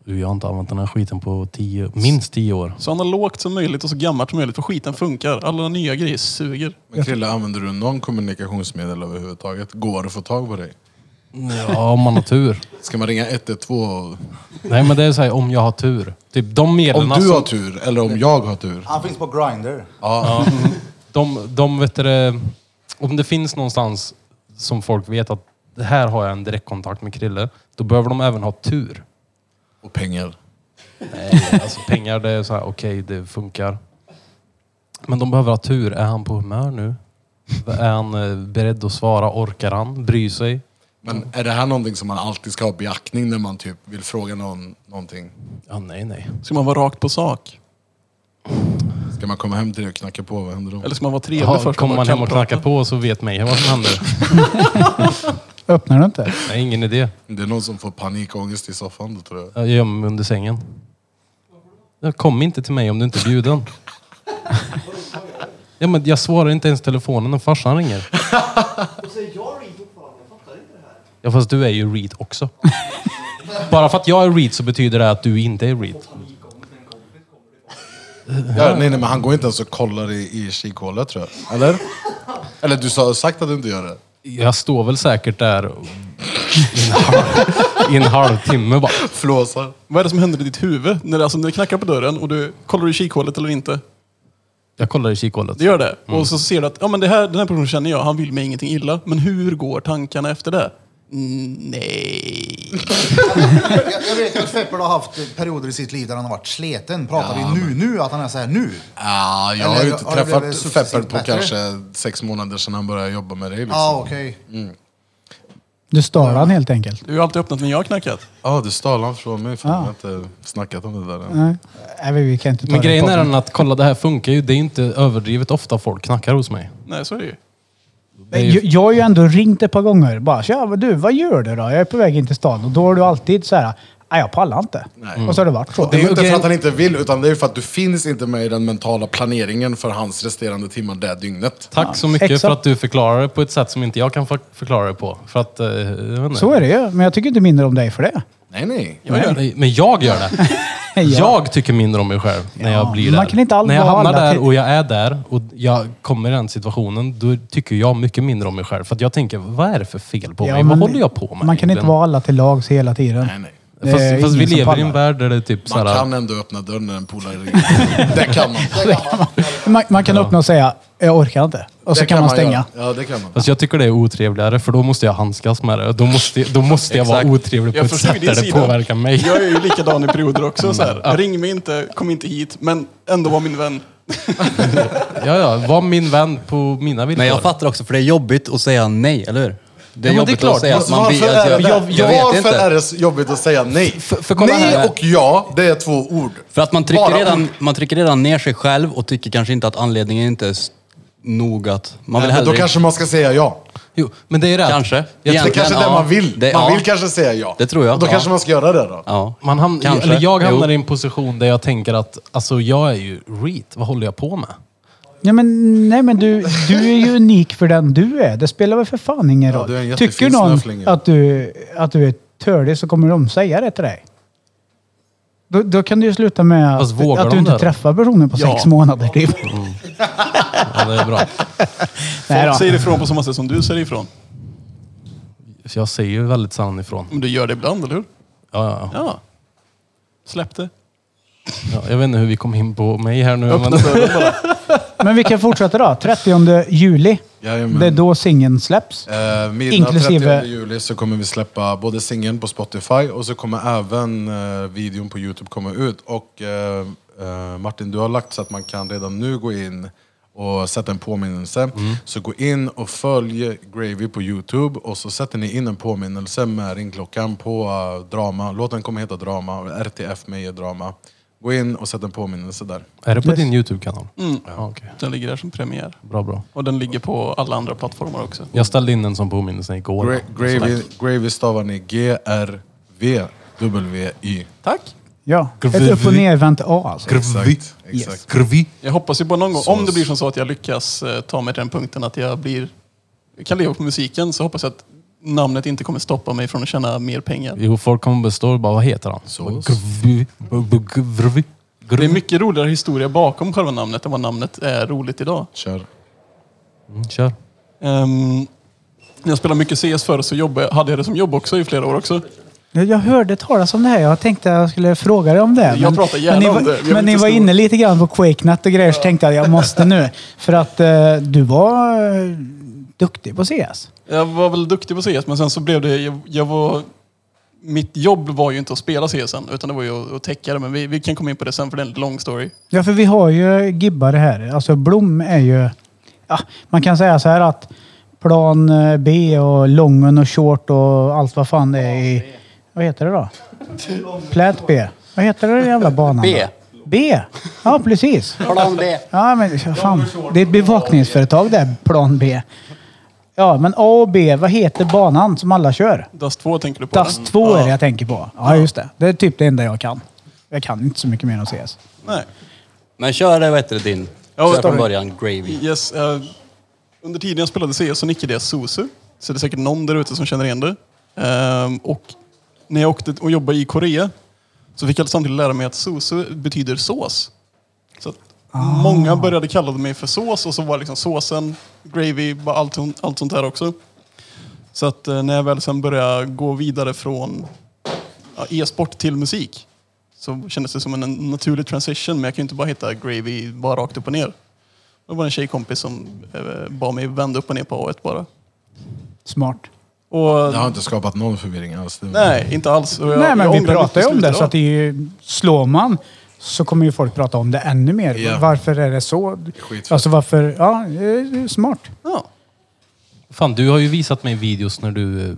du, jag har inte använt den här skiten på tio, minst tio år.
Så analogt som möjligt och så gammalt som möjligt för skiten funkar. Alla nya grejer suger.
Men Krille, använder du någon kommunikationsmedel överhuvudtaget? Går det att få tag på dig?
Ja, om man har tur.
Ska man ringa 112?
Nej men det är såhär, om jag har tur. Typ de medlen
Om du har tur, eller om jag har tur?
Han finns på Grindr.
Ja.
Mm.
De, de vet du, det, om det finns någonstans som folk vet att det här har jag en direktkontakt med Krille, då behöver de även ha tur.
Och pengar.
Alltså pengar, det är så här, okej, det funkar. Men de behöver ha tur. Är han på humör nu? Är han eh, beredd att svara? Orkar han? Bryr sig?
Men är det här någonting som man alltid ska ha i beaktning när man typ vill fråga någon någonting?
Ja, nej, nej.
Ska man vara rakt på sak?
Ska man komma hem till dig och knacka på? Vad händer då?
Eller ska man vara trevlig
Ja,
först?
kommer man
bara
hem och knackar
kallprata?
på så vet mig vad som händer.
Öppnar du inte?
Nej, ingen idé.
Det är någon som får panikångest i soffan då tror jag.
Jag gömmer mig under sängen. Jag kom inte till mig om du inte är bjuden. Ja, men jag svarar inte ens telefonen när farsan ringer. Ja, fast du är ju read också. Bara för att jag är read så betyder det att du inte är read.
Ja, nej, nej, men han går inte ens och kollar i, i kikhålet tror jag. Eller? Eller du sa sagt att du inte gör det.
Jag står väl säkert där och- i en, halv, i en halvtimme bara.
Flåsar.
Vad är det som händer i ditt huvud? När det, alltså, när det knackar på dörren och du kollar du i kikhålet eller inte?
Jag kollar i kikhålet.
Det gör det.
Mm.
Och så ser du att ja, men det här, den här personen känner jag, han vill mig ingenting illa. Men hur går tankarna efter det? Mm, nej.
Jag, jag vet ju att Feppel har haft perioder i sitt liv där han har varit sleten. Pratar vi nu, nu, att han är så här nu?
Ah, jag har
Eller
ju inte
har det
träffat
blivit successivt
Fepper på
bättre?
kanske sex månader sedan han började jobba med dig. Liksom.
Ja, ah, okej.
Du stör han helt enkelt.
Du har alltid öppnat när jag har knackat.
Ja, du stal han från mig. Fan,
Ah.
Jag har inte snackat om det där
Ah.
än.
Nej, Nej, vi kan inte ta
Men
det i
grejen är
podden.
den att kolla det här funkar ju. Det är inte överdrivet ofta folk knackar hos mig.
Nej, så är det ju.
Det är
Men
ju-
jag, jag har ju ändå ringt ett par gånger. Bara, tja, vad du, vad gör du då? Jag är på väg in till stan. Och då har du alltid så här, nej jag pallar inte. Och så har det varit så.
Det är ju inte
okej.
för att han inte vill, utan det är för att du finns inte med i den mentala planeringen för hans resterande timmar det dygnet.
Tack så mycket
exakt.
för att du förklarar det på ett sätt som inte jag kan för- förklara det på. För att, eh, jag vet inte.
Så är det ju. Men jag tycker inte mindre om dig för det.
Nej, nej.
Jag gör det. Men jag gör det. Jag tycker mindre om mig själv när jag blir där.
man kan inte all-
när jag
vara
hamnar
alla
där
till-
och jag är där och jag kommer i den situationen, då tycker jag mycket mindre om mig själv. För att jag tänker, vad är det för fel på
Ja,
mig?
men
vad håller jag på med
Man kan inte
egentligen?
vara alla till lags hela tiden.
nej, nej.
Det är
Fast, fast vi
ingen som
lever i en
pallar.
värld där det är typ
Man
såhär...
kan ändå öppna dörren när en polare ringer. Det kan man. Det
Man, man kan öppna och säga, jag orkar inte. Och så kan man stänga.
göra. Ja, det kan man.
Fast jag tycker det är otrevligare för då måste jag handskas med det. Då måste, då måste jag vara
Exakt.
otrevlig på
Jag
ett
förstår ju
sätt
din
där det
sida.
påverkar mig. Mm,
Jag är ju likadan i perioder också. Så här. Ring mig inte, kom inte hit, men ändå var min vän.
Ja, ja. Var min vän på mina villkor.
Men jag fattar också, för det är jobbigt att säga nej, eller hur? Det är
Ja, men det är
jobbigt
klart.
att säga att
Alltså,
man
varför
vill...
är
Jag,
det,
jag, vet
varför är
inte.
det så jobbigt att säga nej?
För- för kolla
nej
här.
och ja, det är två ord.
För att man
Bara
trycker,
ord.
redan, man trycker redan ner sig själv och tycker kanske inte att anledningen inte är s- nog att... Man vill
Nej, men då
hellre...
kanske man ska säga ja.
Jo, men det är rätt.
Kanske.
Jag
Det
tror,
är
Egentligen,
kanske det
ja.
man vill.
Det-
man
ja.
vill kanske säga ja.
Det tror jag,
Och då
ja.
kanske man ska göra det då.
Ja.
man hamn,
Kanske.
eller jag hamnar
Jo.
i en position där jag tänker att alltså, jag är ju reet. Vad håller jag på med?
Ja, men, nej men du, du är ju unik för den du är. Det spelar väl för fan ingen
Ja,
roll.
du är en jättefin
Tycker någon
snöflinga.
att du, att du är tölig så kommer de säga det till dig. Då, då kan du ju sluta med
Fast
att,
vågar
att
de
du inte
det då? Mm.
träffar personen på sex månader. Typ.
Ja, det är bra.
Nej då.
Folk säger ifrån på samma sätt som du säger ifrån.
För Jag säger ju väldigt sann ifrån.
Men du gör det ibland, eller hur?
Ja, ja, ja.
Ja. Släpp det.
Ja, jag vet inte hur vi kom in på mig här nu.
Öppna
Men,
dörren bara.
Men vi kan fortsätta då. 30 juli.
Jajamän.
Det är då singeln släpps.
Eh, midnatt
Inklusive-
30 juli så kommer vi släppa både singeln på Spotify och så kommer även eh, videon på Youtube komma ut. Och eh, eh, Martin, du har lagt så att man kan redan nu gå in och sätta en påminnelse.
Mm.
Så gå in och följ Gravy på Youtube och så sätter ni in en påminnelse med ringklockan på eh, Drama. Låten kommer heta Drama, RTF Meyer Drama. Gå in och sätt en påminnelse där.
är det på din YouTube-kanal?
Mm.
Ja, okej.
Den ligger där som premiär.
Bra, bra.
Och den ligger på alla andra plattformar också.
Jag ställde in en sån påminnelse igår.
Gra- Gravy, gravy stavar ni G-R-V-W-Y.
Tack!
Ja. Ett upp och nervänt A alltså.
Exakt. exakt.
Kurvi.
Jag hoppas ju på någon gång,
Så-
om det blir som så att jag lyckas eh, ta mig till den punkten att jag blir, jag kan leva på musiken, så hoppas jag att namnet inte kommer stoppa mig från att tjäna mer pengar.
Jo, folk kommer bestå och bara, vad heter han?
Sås.
Kurvi. Kurvi.
Det är mycket roligare historia bakom själva namnet än vad namnet är roligt idag.
Kör.
Mm, Kör.
Ehm, jag spelade mycket CS förr så jobbade, hade jag det som jobb också i flera år också.
Jag jag hörde talas om det här. Jag tänkte jag skulle fråga dig om det.
Jag pratar gärna
men ni,
om
var-
det. Jag vill
Men ni
inte
var
stå-
inne lite grann på QuakeNet och grejer så tänkte jag jag måste nu. För att eh, du var eh, duktig på CS.
Jag var väl duktig på CS men sen så blev det, jag, jag var, mitt jobb var ju inte att spela CS en, utan det var ju att, att täcka det. Men vi, vi kan komma in på det sen för det är en lång story.
Ja, för vi har ju gibbare här. Alltså Blom är ju... Ja, man kan säga så här att plan eh, B och lången och short och allt vad fan det är i... Vad heter det då? Plät B. Vad heter det den jävla banan?
B.
då? B? Ja, precis.
Kolla om det.
Ja, men fan. Det är ett bevakningsföretag där, Plan B. Ja, men A och B, vad heter banan som alla kör?
Dust 2 tänker du på?
DAS 2 är det jag tänker på. Ja, just det. Det är typ det enda jag kan. Jag kan inte så mycket mer än CS.
Nej.
Men kör det, vad heter det, din?
Ja,
Kör
story.
från början, gravy.
Yes, eh, under tiden jag spelade CS så nickade jag Sosu. Så det är säkert någon där ute som känner igen det. Ehm, och när jag åkte och jobbade i Korea så fick jag samtidigt lära mig att Sosu betyder sås. Så att Många började kalla mig för sås och så var det liksom såsen, gravy, bara allt, allt sånt där också. Så att eh, när jag väl sen började gå vidare från ja, e-sport till musik så kändes det som en naturlig transition men jag kan ju inte bara hitta gravy bara rakt upp och ner. Det var en tjejkompis som eh, bad mig vända upp och ner på A1 bara.
Smart.
Och,
Det har inte skapat någon förvirring alls. Det-
Nej, inte alls. Och jag-
Nej, men
jag
vi
ångrar mitt
pratar ju om
beslut
det.
idag.
Så att det är ju, slår man så kommer ju folk prata om det ännu mer.
Ja.
Varför är det så?
skitfett.
Alltså varför? Ja, eh, smart.
Ja.
Fan, du har ju visat mig videos när du eh,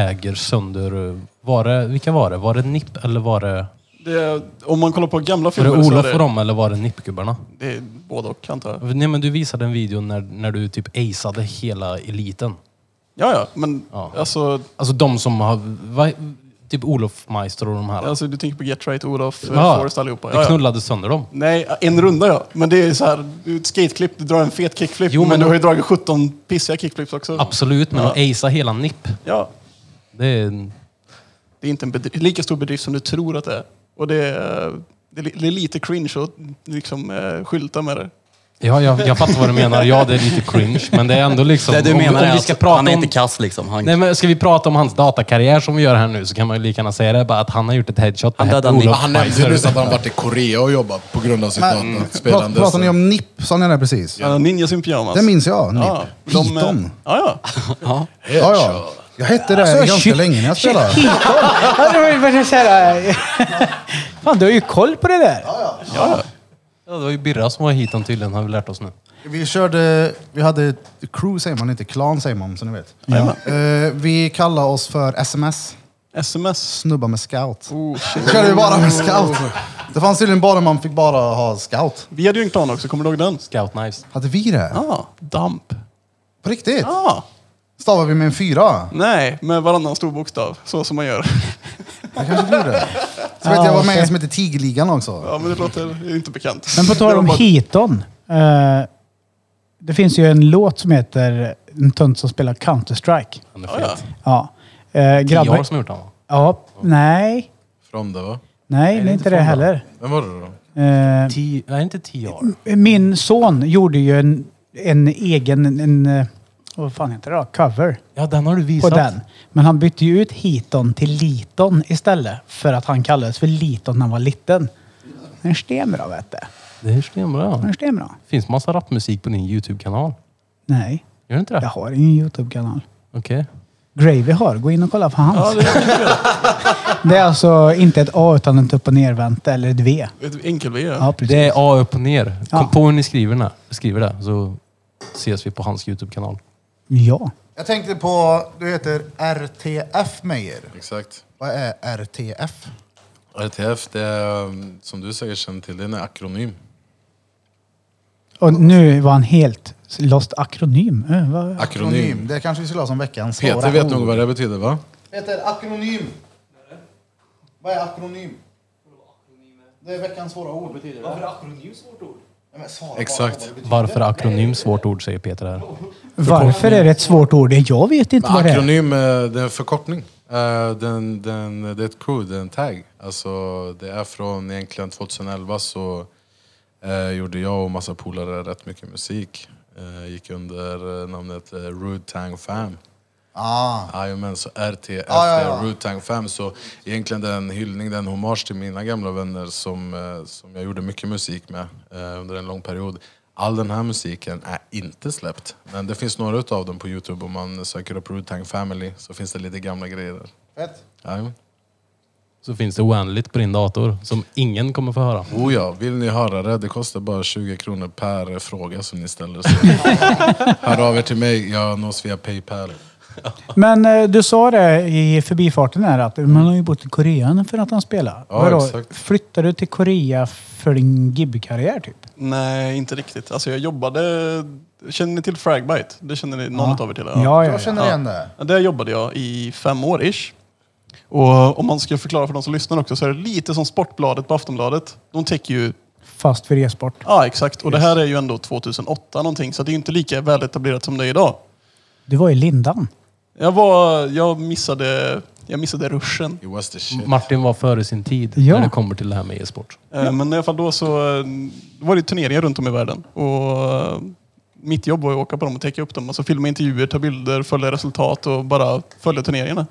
äger sönder... eh, Var det, vilka var det? Var det NIP eller var det...
Det, om man kollar på gamla
Var det
filmer
Olof
så är
och
det,
dem eller var det NIP-gubbarna?
det är både och antar jag.
Nej men du visade en video när, när du typ aceade hela eliten.
Ja, ja, men
Ja.
Alltså,
Alltså de som har... Va, typ Olof Meister och de här.
alltså du tänker på Get Right, Olof,
Ja.
ja. Forrest allihopa.
Du
Ja, ja.
knullade sönder dem.
Nej, en runda ja. Men det är så här, du ett skateklipp, du drar en fet kickflip.
Jo,
men,
men
du
då-
har ju dragit 17 pissiga kickflips också.
Absolut, men
Ja.
att acea hela NIP.
Ja,
Det är en
det är inte en bedri- lika stor bedrift som du tror att det är. Och det är, det är, li- det är lite cringe att liksom, eh, skylta med det.
Ja, jag, jag fattar vad du menar. Ja, det är lite cringe, men det är ändå liksom...
Det du
om-
menar
om
är
vi ska
att
prata
han är
om-
inte kass liksom. Han,
Nej, men ska vi prata om hans datakarriär som vi gör här nu så kan man ju lika gärna säga det, bara att han har gjort ett headshot på
Han
Happy
dödade Nick.
Olof
Han nämnde ju
Meister.
nyss att han varit i Korea och jobbat på grund av sitt
Men,
dataspelande.
Mm. pratar ni
så-
om NIP? Sa ni det precis?
Ja. Ninjas in pyjamas.
Det minns jag. NIP.
Ja, de, eh,
Python.
Ja, ja.
Ja, ja. Jag hette det
Alltså,
ganska
shit.
länge när jag spelade.
Ja, det var ju bara så här, Fan, du har ju koll på det där.
Ja, det var ju Birra som var hit han tydligen, har vi lärt oss nu.
Vi körde, vi hade ett crew säger man inte, clan säger man så ni vet. Eh, vi kallade oss för SMS,
Sms.
snubbar med scout. körde vi bara med scout. Det fanns tydligen bara man fick bara ha scout.
Vi hade ju en klan också, kommer du ihåg den?
Scout Knives.
Hade vi det?
Ja, Damp.
På riktigt?
Ja.
Stavade vi med en fyra?
Nej, med varannan stor bokstav. Så som man gör.
Jag kanske gjorde. Så vet jag, jag var med i en som hette Tigerligan också.
Ja, men det låter inte bekant.
Men på tal om
Det var bara-
Heaton. Eh, det finns ju en låt som heter En tönt som spelar Counter-Strike.
Han är
Ja, ja.
fet.
Ja. Eh,
Tio
grabbar...
år som gjort han va?
Ja, nej.
Från det va?
Nej, det är inte det heller.
Vem var det då?
Eh,
Tio, nej, inte tio år.
Min son gjorde ju en, en egen, en, eh, vad fan heter det då? Cover
Ja, den har du
på
visat.
den. Men han bytte ju ut Hiton till Liton istället. För att han kallades för Liton när han var liten. Det är stenbra vet du.
Det är stenbra.
Det är stenbra.
finns massa rapmusik på din YouTube-kanal.
Nej,
Gör det inte
jag
det?
har ingen YouTube-kanal.
Okej.
Gravy har, gå in och kolla på hans.
Ja, det är
Det är alltså inte ett A utan ett upp och nervänt eller ett V.
ett enkel V.
Ja,
Ja.
precis.
Det är A upp och ner. Kom
Ja.
på hur ni skriver det, skriver det så ses vi på hans YouTube-kanal.
Ja.
Jag tänkte på, du heter RTF Meyer.
Exakt.
Vad är RTF?
RTF, det är um, som du säkert känner till, det är en akronym.
Och nu var han helt lost akronym. Eh, vad-
Akronym.
Det kanske vi skulle ha som veckans
Peter
svåra
vet
ord.
nog vad det betyder va?
Det heter akronym. Vad är akronym? Det är veckans svåra ord betyder det. Varför är akronym svårt ord? men svara bara
Exakt.
vad det betyder.
Varför är akronym svårt ord, säger Peter här.
Varför är det ett svårt ord? Jag vet inte
Men
vad det är.
akronym, eh, det är en förkortning. Eh, Den, den, det är ett crew, det är en tag. Alltså, det är från egentligen 2011 så eh, gjorde jag och massa polare rätt mycket musik. Eh, gick under eh, namnet eh, Rude Tang Fam.
Ah,
Jajamän, så RTF,
Ja, ja, ja.
det är Root Tang 5. Så egentligen det är en hyllning, det är en hommage till mina gamla vänner som, eh, som jag gjorde mycket musik med eh, under en lång period. All den här musiken är inte släppt, men det finns några utav dem på Youtube. Om man söker upp Root Tang Family så finns det lite gamla grejer där.
fett.
Jajamän.
Så finns det oändligt på din dator som ingen kommer få höra.
Oh ja, vill ni höra det? Det kostar bara 20 kronor per fråga som ni ställer. Så hör av er till mig, jag nås via Paypal.
Men eh, du sa det i förbifarten här att man har ju bott i Korea nu för att han spelar.
Ja, exakt.
Flyttade du till Korea för din gibbkarriär typ?
Nej, inte riktigt. Alltså jag jobbade... Känner ni till Fragbite? Det känner ni någon av er till?
Ja, ja, ja.
Jag känner igen det.
Ja, Där jobbade jag i fem år ish. Och om man ska förklara för de som lyssnar också så är det lite som Sportbladet på Aftonbladet. De täcker ju...
Fast för e-sport.
Ja, exakt. Och det här är ju ändå 2008 någonting, så det är ju inte lika väletablerat som det är idag.
Du var i lindan.
Jag, var, jag missade Jag missade ruschen.
It was the shit.
Martin var före sin tid
Ja.
när det kommer till det här med e-sport.
Eh, Men i alla fall då så eh, var det turneringar runt om i världen. Och eh, mitt jobb var att åka på dem och täcka upp dem. Alltså filma intervjuer, ta bilder, följa resultat och bara följa turneringarna.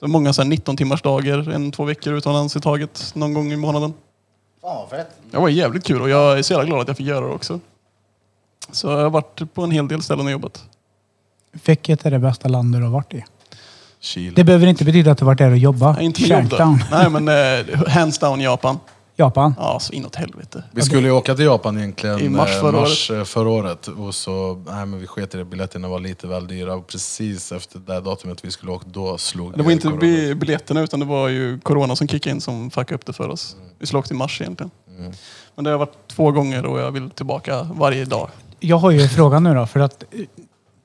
Så många så här 19 timmars dagar, en, två veckor utomlands i taget någon gång i månaden.
Fan vad fett.
Det var jävligt kul och jag är så jävla glad att jag fick göra det också. Så jag har varit på en hel del ställen och jobbat.
Ficket är det bästa landet du har varit i.
Chile.
Det behöver inte betyda att du varit där och jobbat.
Nej, inte med jobb då.
Shakedown.
Nej, men eh, hands down Japan.
Japan.
Ja, så inåt helvete.
Vi skulle ju åka till Japan egentligen
I mars
eh,
förra
mars, eh, förra året. Och så, nej men vi sket i det, biljetterna var lite väl dyra. Och precis efter det datumet vi skulle åka, då slog
Det var inte
corona.
bi- biljetterna utan det var ju corona som kickade in som fuckade upp det för oss. Vi skulle åkt i mars egentligen. Men det har varit två gånger och jag vill tillbaka varje dag.
Jag har ju en fråga nu då, för att eh,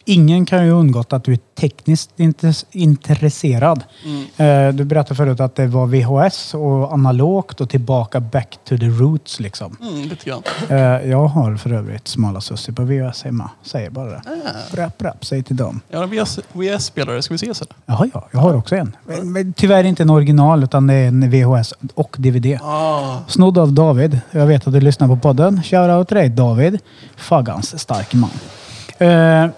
ingen kan ju undgått att du är tekniskt intes- intresserad.
Mm.
Eh, Du berättade förut att det var VHS och analogt och tillbaka back to the roots liksom.
Mm, lite grann.
Eh, Jag har för övrigt smala sussi på VHS hemma. Säger bara det.
Ah.
Brapp, brapp, säg till dem.
Jag har en VS-spelare, ska vi ses eller?
Jaha, ja. Jag har också en. Men- men Tyvärr inte en original utan det är en VHS och DVD. Snodd av David. Jag vet att du lyssnar på podden. Shoutout till dig David. Faggans stark man. Eh,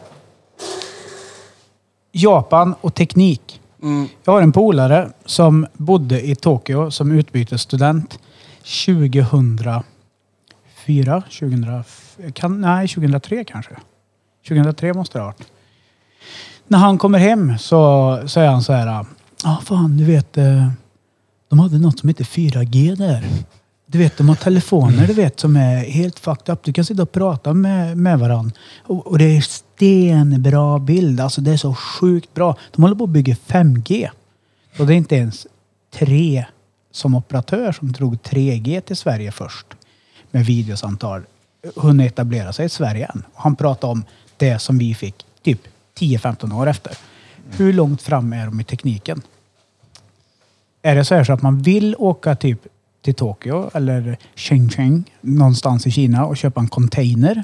Japan och teknik.
Mm.
Jag har en polare som bodde i Tokyo som utbytesstudent 2004, 2005, kan, nej 2003 kanske. 2003 måste det ha varit när han kommer hem så säger han så här. Ja ah, fan, du vet. eh, De hade något som heter 4G där. Du vet, de har telefoner du vet som är helt fucked up. Du kan sitta och prata med, med varandra. Och, och det är stenbra bild. Alltså det är så sjukt bra. De håller på att bygga 5G. Och det är inte ens tre som operatör som drog 3G till Sverige först. Med videosamtal. Hunnit etablera sig i Sverige än. Och han pratade om det som vi fick typ 10-15 år efter. Hur långt fram är de i tekniken? Är det så här så att man vill åka typ till Tokyo eller Shenzhen någonstans i Kina och köpa en container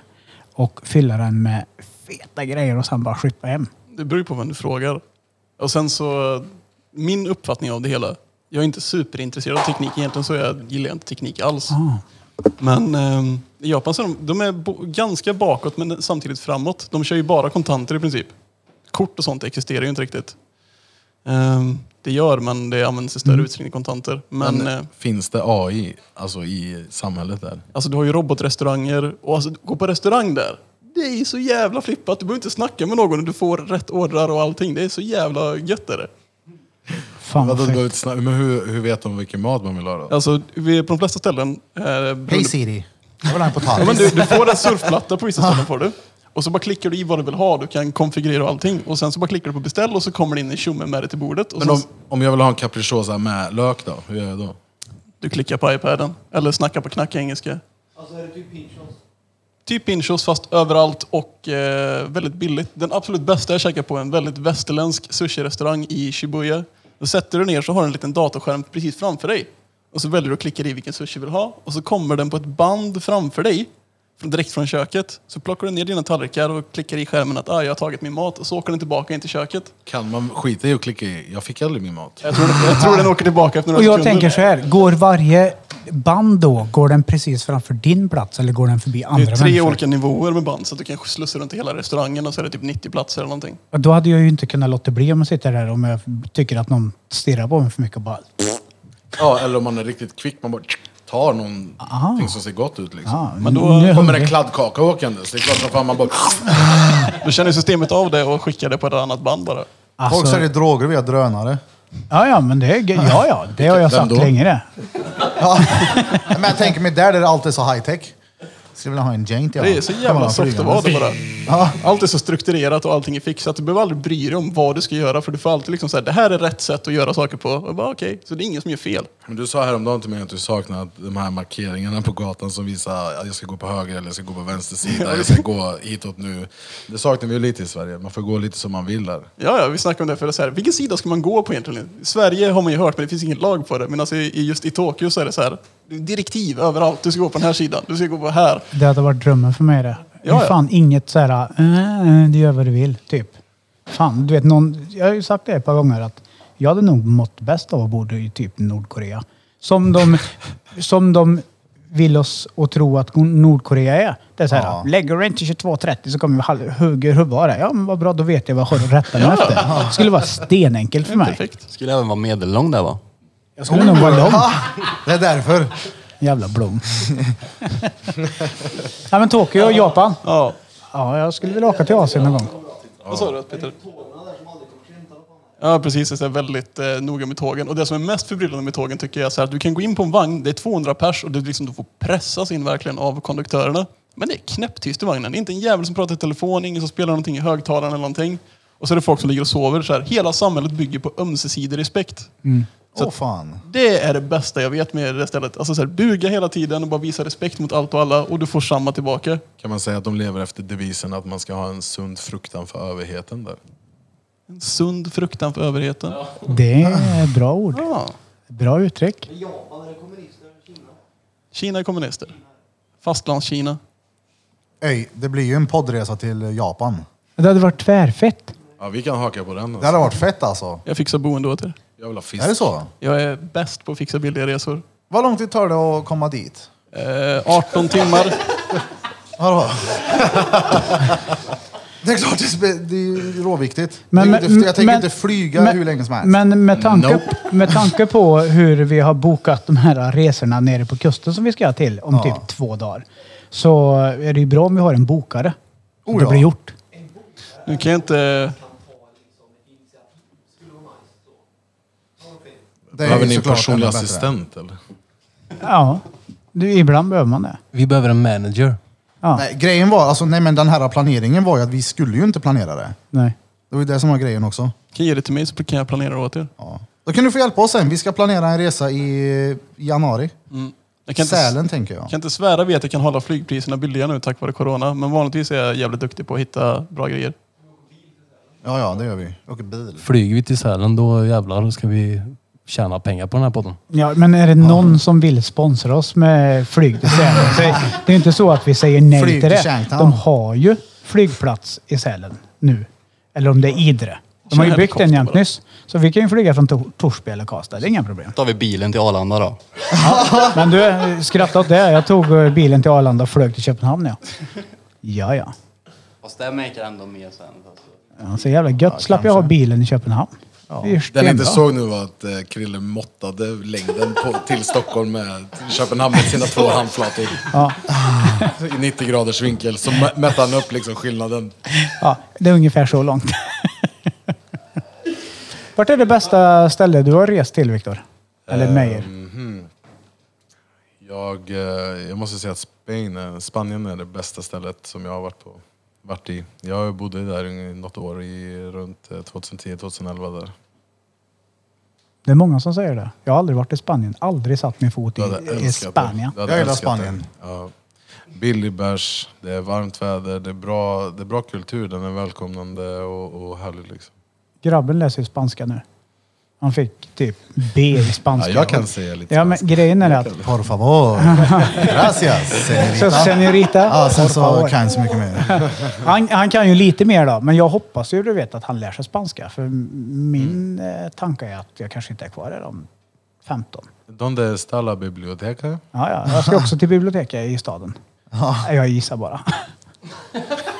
och fylla den med feta grejer och sen bara skippa hem?
Det beror ju på vem du frågar. Och sen så, min uppfattning av det hela. Jag är inte superintresserad av teknik egentligen, så jag gillar inte teknik alls. Men ehm, i Japan så är de, de är bo- ganska bakåt men samtidigt framåt. De kör ju bara kontanter i princip. Kort och sånt existerar ju inte riktigt. Ehm, det gör, men det används i större utsträckning kontanter. Men,
Men
eh,
finns det AI alltså, i samhället där?
alltså, du har ju robotrestauranger och alltså, gå på restaurang där. Det är ju så jävla flippat. Du behöver inte snacka med någon och du får rätt ordrar och allting. Det är så jävla gött är det.
Fan vad
Vadå, det går
fett.
ut snabbt? Men hur, hur vet de vilken mat man vill ha då?
Alltså, vi, på de flesta ställen... Eh, beroende-
Hej Siri. Jag vill ha en
Ja, men
potatis.
du, du får en surfplatta på vissa ställen får du. Och så bara klickar du i vad du vill ha. Du kan konfigurera och allting. Och sen så bara klickar du på beställ och så kommer det in en tjomme med det till bordet. Och
Men
så,
om, om jag vill ha en capricciosa med lök då? Hur gör jag då?
Du klickar på iPaden. Eller snackar på knacka engelska. Typ Pinchos fast överallt och eh, väldigt billigt. Den absolut bästa jag käkat på är en väldigt västerländsk sushi-restaurang i Shibuya. Då sätter du ner så har du en liten datorskärm precis framför dig. Och så väljer du att klicka i vilken sushi du vill ha. Och så kommer den på ett band framför dig. från- Direkt från köket. Så plockar du ner dina tallrikar och klickar i skärmen att ah, jag har tagit min mat. Och så åker den tillbaka in till köket.
Kan man skita i och klicka i? Jag fick aldrig min mat.
Jag tror, jag tror den åker tillbaka efter några
Och jag
sekunder.
tänker så här, går varje band då, går den precis framför din plats eller går den förbi andra
Det är tre
människor?
olika nivåer med band så att du kan slussa runt i hela restaurangen och så är det typ 90 platser eller någonting.
Och Då hade jag ju inte kunnat låta bli om jag sitter där om jag tycker att någon stirrar på mig för mycket och bara...
Ja, eller om man är riktigt kvick, man bara tar någonting som ser gott ut liksom.
Ah,
Men då
nu är jag
Kommer
hungrig."
en kladdkaka åkandes, det är klart som fan man bara...
Då känner systemet av det och skickar det på ett annat band bara.
Folk
Alltså,
säljer droger via drönare.
ja, ja, men det är ge- Ja, ja, det har jag
Vem
sagt
då?
länge det.
Ja. Men jag tänker mig där där det alltid är så high tech. Skulle vilja ha en jaint jag.
Det är så
Kan man
jävla
ha
soft att
flygande.
vara det bara. Allt är så strukturerat och allting är fixat. Du behöver aldrig bry dig om vad du ska göra för du får alltid liksom säga det här är rätt sätt att göra saker på. Och jag bara okej, så det är ingen som gör fel.
Men du sa häromdagen till mig att du saknar att de här markeringarna på gatan som visar att jag ska gå på höger eller jag ska gå på vänster sida, jag ska gå hitåt nu. Det saknar vi ju lite i Sverige, man får gå lite som man vill där.
Ja, ja, vi snackade om det för så här, vilken sida ska man gå på egentligen? I Sverige har man ju hört, men det finns inget lag på det. Men alltså, i- just i Tokyo så är det så här, direktiv överallt. Du ska gå på den här sidan, du ska gå på här.
Det hade varit drömmen för mig det.
Ja,
Det är
ja.
Fan, inget så här, "Äh, eh, eh, du gör vad du vill, typ. Fan, du vet någon, jag har ju sagt det ett par gånger att Jag hade nog mått bäst av att bo i typ Nordkorea. Som de, som de vill oss att tro att Nordkorea är. Det är så här,
Ja.
lägger du inte 22.30 så kommer vi halv- hugger huvudet av dig. Ja, men vad bra, då vet jag vad jag har att rätta mig efter. Det skulle vara stenenkelt för mig.
Perfekt.
Skulle även vara medellång där va?
Jag skulle nog vara lång.
Det är därför.
Jävla blom. ja, men Tokyo och Japan. Ja. Ja, jag skulle vilja åka till Asien någon gång.
Vad sa du Peter? Ja precis, det är så här väldigt eh, noga med tågen. Och det som är mest förbryllande med tågen tycker jag är så här, att du kan gå in på en vagn, det är 200 pers och du, liksom, du får pressas in verkligen av konduktörerna. Men det är knäpptyst i vagnen. Det är inte en jävel som pratar i telefon, ingen som spelar någonting i högtalaren eller någonting. Och så är det folk som ligger och sover. Så här. Hela samhället bygger på ömsesidig respekt.
Åh fan.
Det är det bästa jag vet med det stället. Alltså så här, buga hela tiden och bara visa respekt mot allt och alla och du får samma tillbaka.
Kan man säga att de lever efter devisen att man ska ha en sund fruktan för överheten där?
En sund fruktan för överheten.
Det är bra ord.
Ja.
Bra uttryck.
Kina är kommunister. Fastlandskina.
Öj, det blir ju en poddresa till Japan.
Det hade varit tvärfett.
Ja, vi kan haka på den.
Det hade
Alltså.
varit fett alltså.
Jag fixar boende åt er.
Jag vill ha fisk.
Är det så?
Jag är bäst på att fixa billiga resor.
Vad lång tid tar det att komma dit?
Eh, 18 timmar.
Vadå? det är klart, det spe- det är ju råviktigt.
Men-
det är ju inte,
men-
jag tänker
men-
inte flyga
men-
hur länge som helst.
Men med tanke, med tanke på hur vi har bokat de här resorna nere på kusten som vi ska till om
Ja.
typ två dagar. Så är det ju bra om vi har en bokare. Så
Oh
det
ja.
blir gjort.
Nu kan jag inte...
det
Behöver ni en
såklart
personlig
ännu bättre.
assistent eller?
Ja, du, ibland behöver man det.
Vi behöver en manager.
Ja, nej.
Nej, grejen var, alltså, nej men den här planeringen var ju att vi skulle ju inte planera det. Det var ju det som var grejen också.
Kan ge det till mig så kan jag planera åt er.
Ja. Då kan du få hjälpa oss sen. Vi ska planera en resa i januari.
Jag kan inte,
Sälen tänker jag.
kan inte svära vid att jag kan hålla flygpriserna billiga nu tack vare corona. Men vanligtvis är jag jävligt duktig på att hitta bra grejer.
Ja, ja, det gör vi. Åker bil.
Flyger vi till Sälen då jävlar ska vi tjäna pengar på den här podden.
Ja, men är det någon som vill sponsra oss med flyg till Sälen? Så det är inte så att vi säger nej
Flyg
till
till
det.
Shanghai.
De har ju flygplats i Sälen nu. Eller om det är Idre. De har ju byggt en jämt nyss. Så vi kan ju flyga från Tor- Torsby eller Karlstad. Det är inga problem.
Då tar vi bilen till Arlanda då.
Men du, skratta åt det. Jag tog eh, bilen till Arlanda och flög till Köpenhamn. Ja, ja. ja.
Fast det maker ändå mer sen.
Ja, Så jävla gött slapp jag ha bilen i Köpenhamn. Det är ju
Den jag
stenbra.
inte såg nu var att eh, Krille måttade längden på, till Stockholm med Köpenhamn med sina två handflator.
Ja.
I 90 graders vinkel så mä- mätte han upp liksom skillnaden.
Ja, det är ungefär så långt. Vart är det bästa stället du har rest till, Viktor? Eller Meyer?
Ehm. Jag, eh, jag måste säga att Spain, eh, Spanien är det bästa stället som jag har varit på. Vart i. Jag bodde där i något år, i, runt 2010-2011 där.
Det är många som säger det. Jag har aldrig varit i Spanien. Aldrig satt min fot i,
Du hade
i
älskat det.
Spanien.
Du hade
Jag gillar
älskat det.
Spanien.
Ja. Billig bärs, det är varmt väder, det är bra, det är bra kultur, den är välkomnande och, och härlig. Liksom.
Grabben läser ju spanska nu. Han fick typ B i
Ja,
spanska.
jag kan säga lite
Ja, men
spanska.
grejen är att...
Por favor. Gracias.
Så
señorita.
senorita.
Ja, sen så
Por
kan jag inte så mycket mer.
Han, han kan ju lite mer då, men jag hoppas ju du vet att han lär sig spanska. För
Mm.
min eh, tanke är att jag kanske inte är kvar här om 15.
Donde está la biblioteca?
Ja, ja, jag ska också till biblioteket i staden. Nej, Jag gissar bara.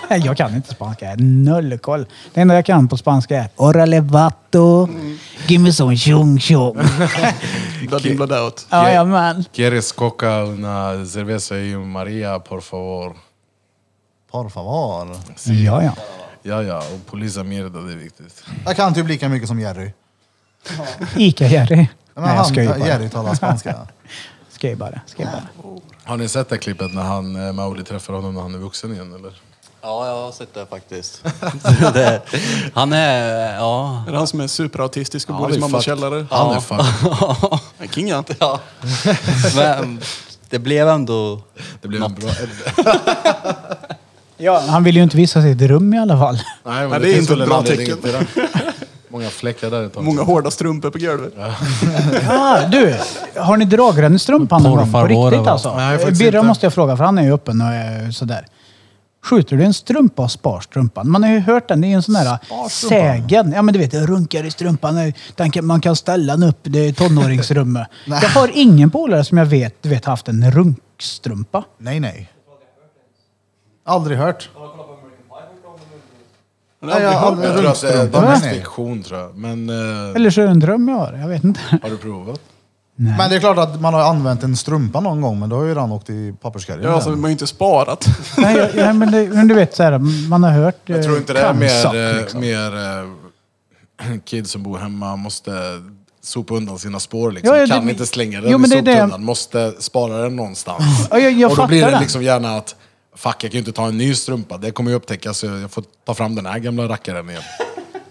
Nej, jag kan inte spanska. Jag har Noll koll. Det enda jag kan på spanska är Orale vato, give me some tjong tjong.
Bladim, bladout.
Jajamän.
Quieres coca una cerveza y Maria, por favor?
Por favor.
Ja, ja.
Ja, ja, och polisa mierda, det är viktigt.
Jag kan typ lika mycket som Jerry.
Ica-Jerry.
Men
Nej, jag
han,
skojar bara.
Jerry talar spanska.
Skojar bara. Skojar bara.
Har ni sett det här klippet när han, eh, Mauli träffar honom när han är vuxen igen eller?
Ja, jag har sett det faktiskt. det, han är... Ja.
Är det han som är superautistisk och bor i
det är
sin mammas
fucked.
källare?
Han är fucked.
Men King är han.
ja. Men det blev ändå...
Det blev en bra...
Ja, han vill ju inte visa sitt rum i alla fall.
Nej, men
Nej,
det, är inte ett bra tecken. Till det. Många fläckar där ett tag.
Många hårda strumpor på golvet.
Ja, du, har ni dragren i strumpan någon gång? På
Porrfarvor,
riktigt
va?
alltså?
Nej, faktiskt
Birra
inte.
måste jag fråga, för han är ju öppen och eh, sådär. skjuter du en strumpa och spar strumpan. Man har ju hört den, det är en sån där sägen. Ja men du vet, jag runkar i strumpan. eh, Den kan, man kan ställa den upp, det är tonåringsrummet. jag har ingen polare som jag vet, du vet haft en runkstrumpa.
Nej, nej. Aldrig hört. Nej, jag har aldrig
Jag tror att det är, det
runkstrumpa.
är
Nej,
mest
nej.
fiktion tror jag. Men eh,
Eller så är det en dröm jag har, jag vet inte.
har du provat?
Men det är klart att man har använt en strumpa någon gång, men då har ju den åkt i papperskorgen.
Ja, alltså, man har ju inte sparat.
Nej, jag, nej men, det, men du vet så här, man har hört
Jag
eh,
tror inte det är
kamsak,
mer, eh,
liksom.
mer eh, kids som bor hemma måste sopa undan sina spår liksom.
Ja, ja,
kan
det-
inte slänga
Jo,
den
men
i
det är det-
soptunnan. Måste spara den någonstans.
Ja, jag- jag
och då blir
fattar
det
den.
liksom gärna att Fuck, jag kan ju inte ta en ny strumpa. Det kommer ju upptäckas. så Jag får ta fram den här gamla rackaren igen.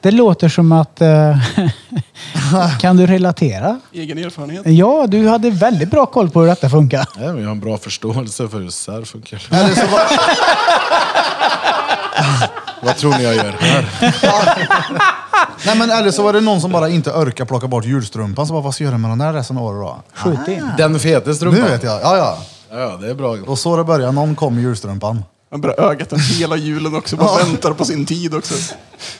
Det låter som att... eh, kan du relatera?
Egen erfarenhet.
Ja, du hade väldigt bra koll på hur detta funkar.
Nej, men jag har en bra förståelse för hur sär funkar.
Eller så var,
Vad tror ni jag gör här?
nej, men eller så var det någon som bara inte orkar plocka bort julstrumpan, så bara, vad ska jag göra med den där resten av året då?
Skjut in.
Den feta
Nu
strumpan.
vet jag, ja ja.
Ja, det är bra.
Och så det började, någon kom med julstrumpan.
Man bara ögat den hela julen också. Bara väntar på sin tid också.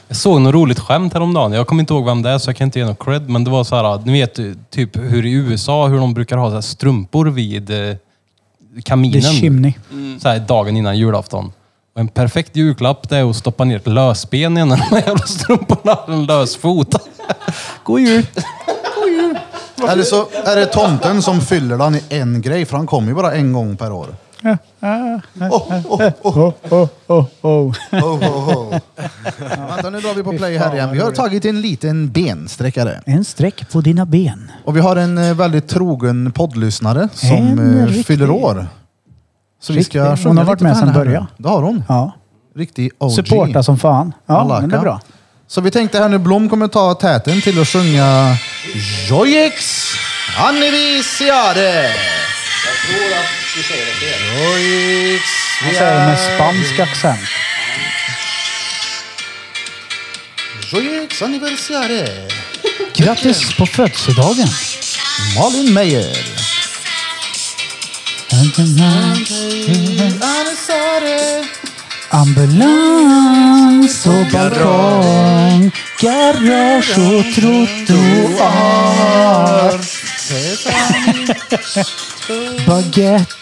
Jag såg något roligt skämt häromdagen. Jag kommer inte ihåg vem det är så jag kan inte ge något cred. Men det var så här, ni vet typ hur i USA, hur de brukar ha så här strumpor vid eh, kaminen. Mm.
The chimney.
Så här dagen innan julafton. Och en perfekt julklapp det är att stoppa ner ett lösben i en av de här jävla strumporna. En lös fot. God jul!
Eller så är det tomten som fyller den i en grej, för han kommer ju bara en gång per år. Oh, oh, oh,
Oh, oh, oh, oh.
oh, oh. Vänta, nu drar vi på play här igen. Vi har tagit en liten bensträckare.
En streck på dina ben.
Och vi har en eh, väldigt trogen poddlyssnare som
En
eh,
riktig-
fyller år. Så vi ska
Riktig.
sjunga
Hon har
lite
varit med
för henne
sedan
här nu.
början.
Det har hon.
Ja.
Riktig OG.
Supporta som fan. Ja,
Malaka.
men det är bra.
Så vi tänkte här nu, Blom kommer ta täten till att sjunga Jojex Anivisiare. Jag tror att du säger det fel. Jojex
Han säger det med spansk accent.
Jojex Anivisiare.
Grattis på födelsedagen.
Malin Meyer. Anivisiare.
Ambulans och balkong. Garage och trottoar. Baguette.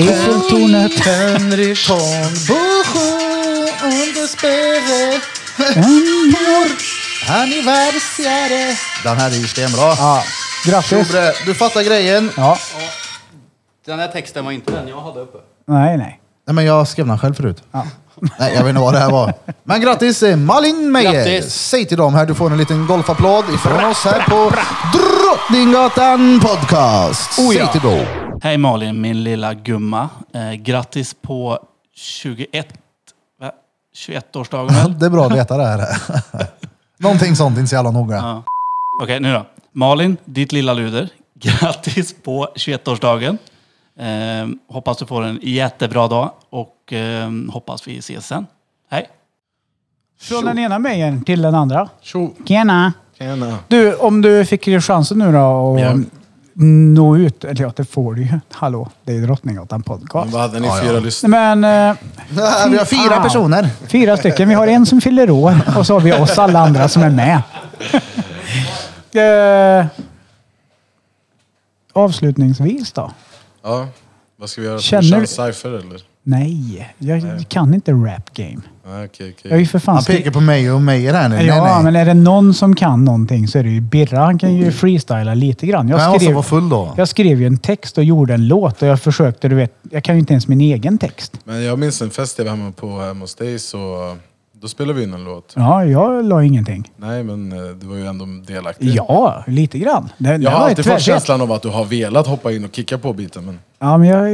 Eiffeltornet.
Henry von Bochum under spöre. Anniversare. Den här är ju stenbra.
Ja, grattis.
Tjobre, du fattar grejen.
Ja,
Den här texten var inte den jag hade uppe.
nej, nej.
Nej, men jag skrev den själv förut. Nej, jag vet inte vad det här var. Men grattis eh, Malin Meyer!
Grattis.
Säg till dem här, du får en liten golfapplåd ifrån oss här på Drottninggatan Podcast.
Oh ja.
Säg till dem.
Hej Malin, min lilla gumma. Eh, grattis på 21... va? 21-årsdagen väl? Okej,
Det är bra att veta det här. Någonting sånt, inte så jävla noga.
nu då. Malin, ditt lilla luder. Grattis på 21-årsdagen. Eh, hoppas du får en jättebra dag och eh, hoppas vi ses sen. Hej!
Från den ena mejern till den andra.
Tjo,
Tjena!
tjena.
Du, om du fick ju chansen nu då att
Ja.
nå ut. Eller ja, det får du ju. Hallå, det är ju Drottninggatan
Men
podcast.
Vad hade ni fyra lyssnare?
Men eh,
Vi har fyra
Fan.
personer.
Ah. fyra stycken. Vi har en som fyller år och så har vi oss alla andra som är med. eh, avslutningsvis då.
Ja. Vad ska vi göra? Ska
Känner
vi köra
du-
en cypher eller?
Nej, jag kan inte rap game.
Nej, Okej, okej.
Jag är ju för fan...
Han pekar på mig och Meyer här nu. Nej,
ja,
nej.
men är det någon som kan någonting så är det ju Birra. Han kan ju freestyla lite grann.
Men han
Jag
måste
skrev,
vara full då.
jag skrev ju en text och gjorde en låt och jag försökte, du vet, jag kan ju inte ens min egen text.
Men jag minns en fest jag var hemma på hemma hos dig så då spelade vi in en låt.
Ja, jag la ingenting.
Nej men eh, du var ju ändå delaktig.
Ja, lite grann. Det, det
Jag har
var
alltid
ett
fått
tvärsätt.
känslan av att du har velat hoppa in och kicka på biten men
Ja, men jag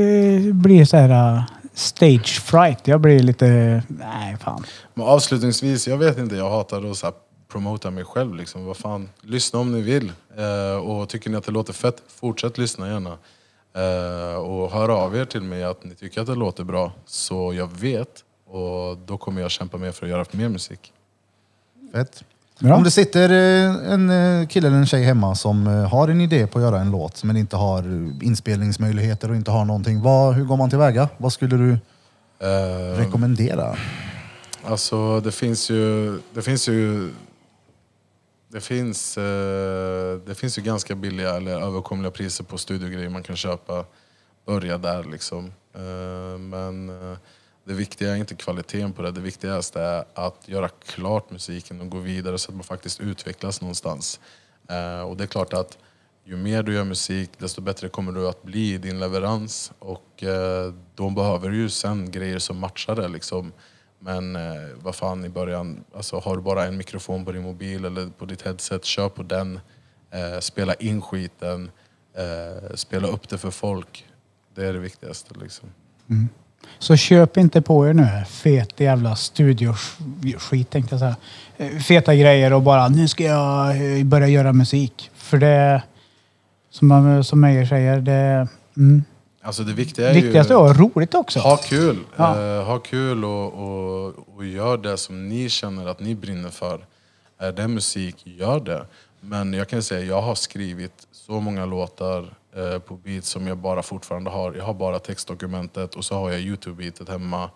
eh, blir så här eh, stage fright. Jag blir lite, nej fan.
Men avslutningsvis, jag vet inte, jag hatar att så här promota mig själv. Liksom. Vad fan, lyssna om ni vill. Eh, och tycker ni att det låter fett, fortsätt lyssna gärna. Eh, och hör av er till mig att ni tycker att det låter bra, så jag vet. Och då kommer jag kämpa mer för att göra mer musik.
Fett.
Bra.
Om det sitter eh, en eh, kille eller en tjej hemma som eh, har en idé på att göra en låt men inte har eh, inspelningsmöjligheter och inte har någonting. Vad, hur går man tillväga? Vad skulle du
Eh,
Rekommendera.
Alltså det finns ju... Det finns ju... Det finns, eh, det finns ju ganska billiga eller överkomliga priser på studiogrejer man kan köpa. Börja där liksom. Eh, men eh, det viktiga är inte kvaliteten på det. Det viktigaste är att göra klart musiken och gå vidare så att man faktiskt utvecklas någonstans. Eh, och det är klart att ju mer du gör musik desto bättre kommer du att bli i din leverans. Och eh, då behöver du ju sen grejer som matchar det liksom. Men eh, vad fan i början, alltså har du bara en mikrofon på din mobil eller på ditt headset, kör på den. Eh, spela in skiten. Eh, spela upp det för folk. Det är det viktigaste liksom.
Så köp inte på er nu fet jävla studioskit tänkte jag säga. Eh, Feta grejer och bara nu ska jag eh, börja göra musik. För det, som, man- som Meijer säger, det mm.
Alltså det viktiga är
viktigaste
ju...
är att ha roligt också.
Ha kul!
Ja.
Eh, ha kul och, och, och gör det som ni känner att ni brinner för. Är det musik, gör det. Men jag kan säga, jag har skrivit så många låtar eh, på beat som jag bara fortfarande har. Jag har bara textdokumentet och så har jag Youtube-beatet hemma.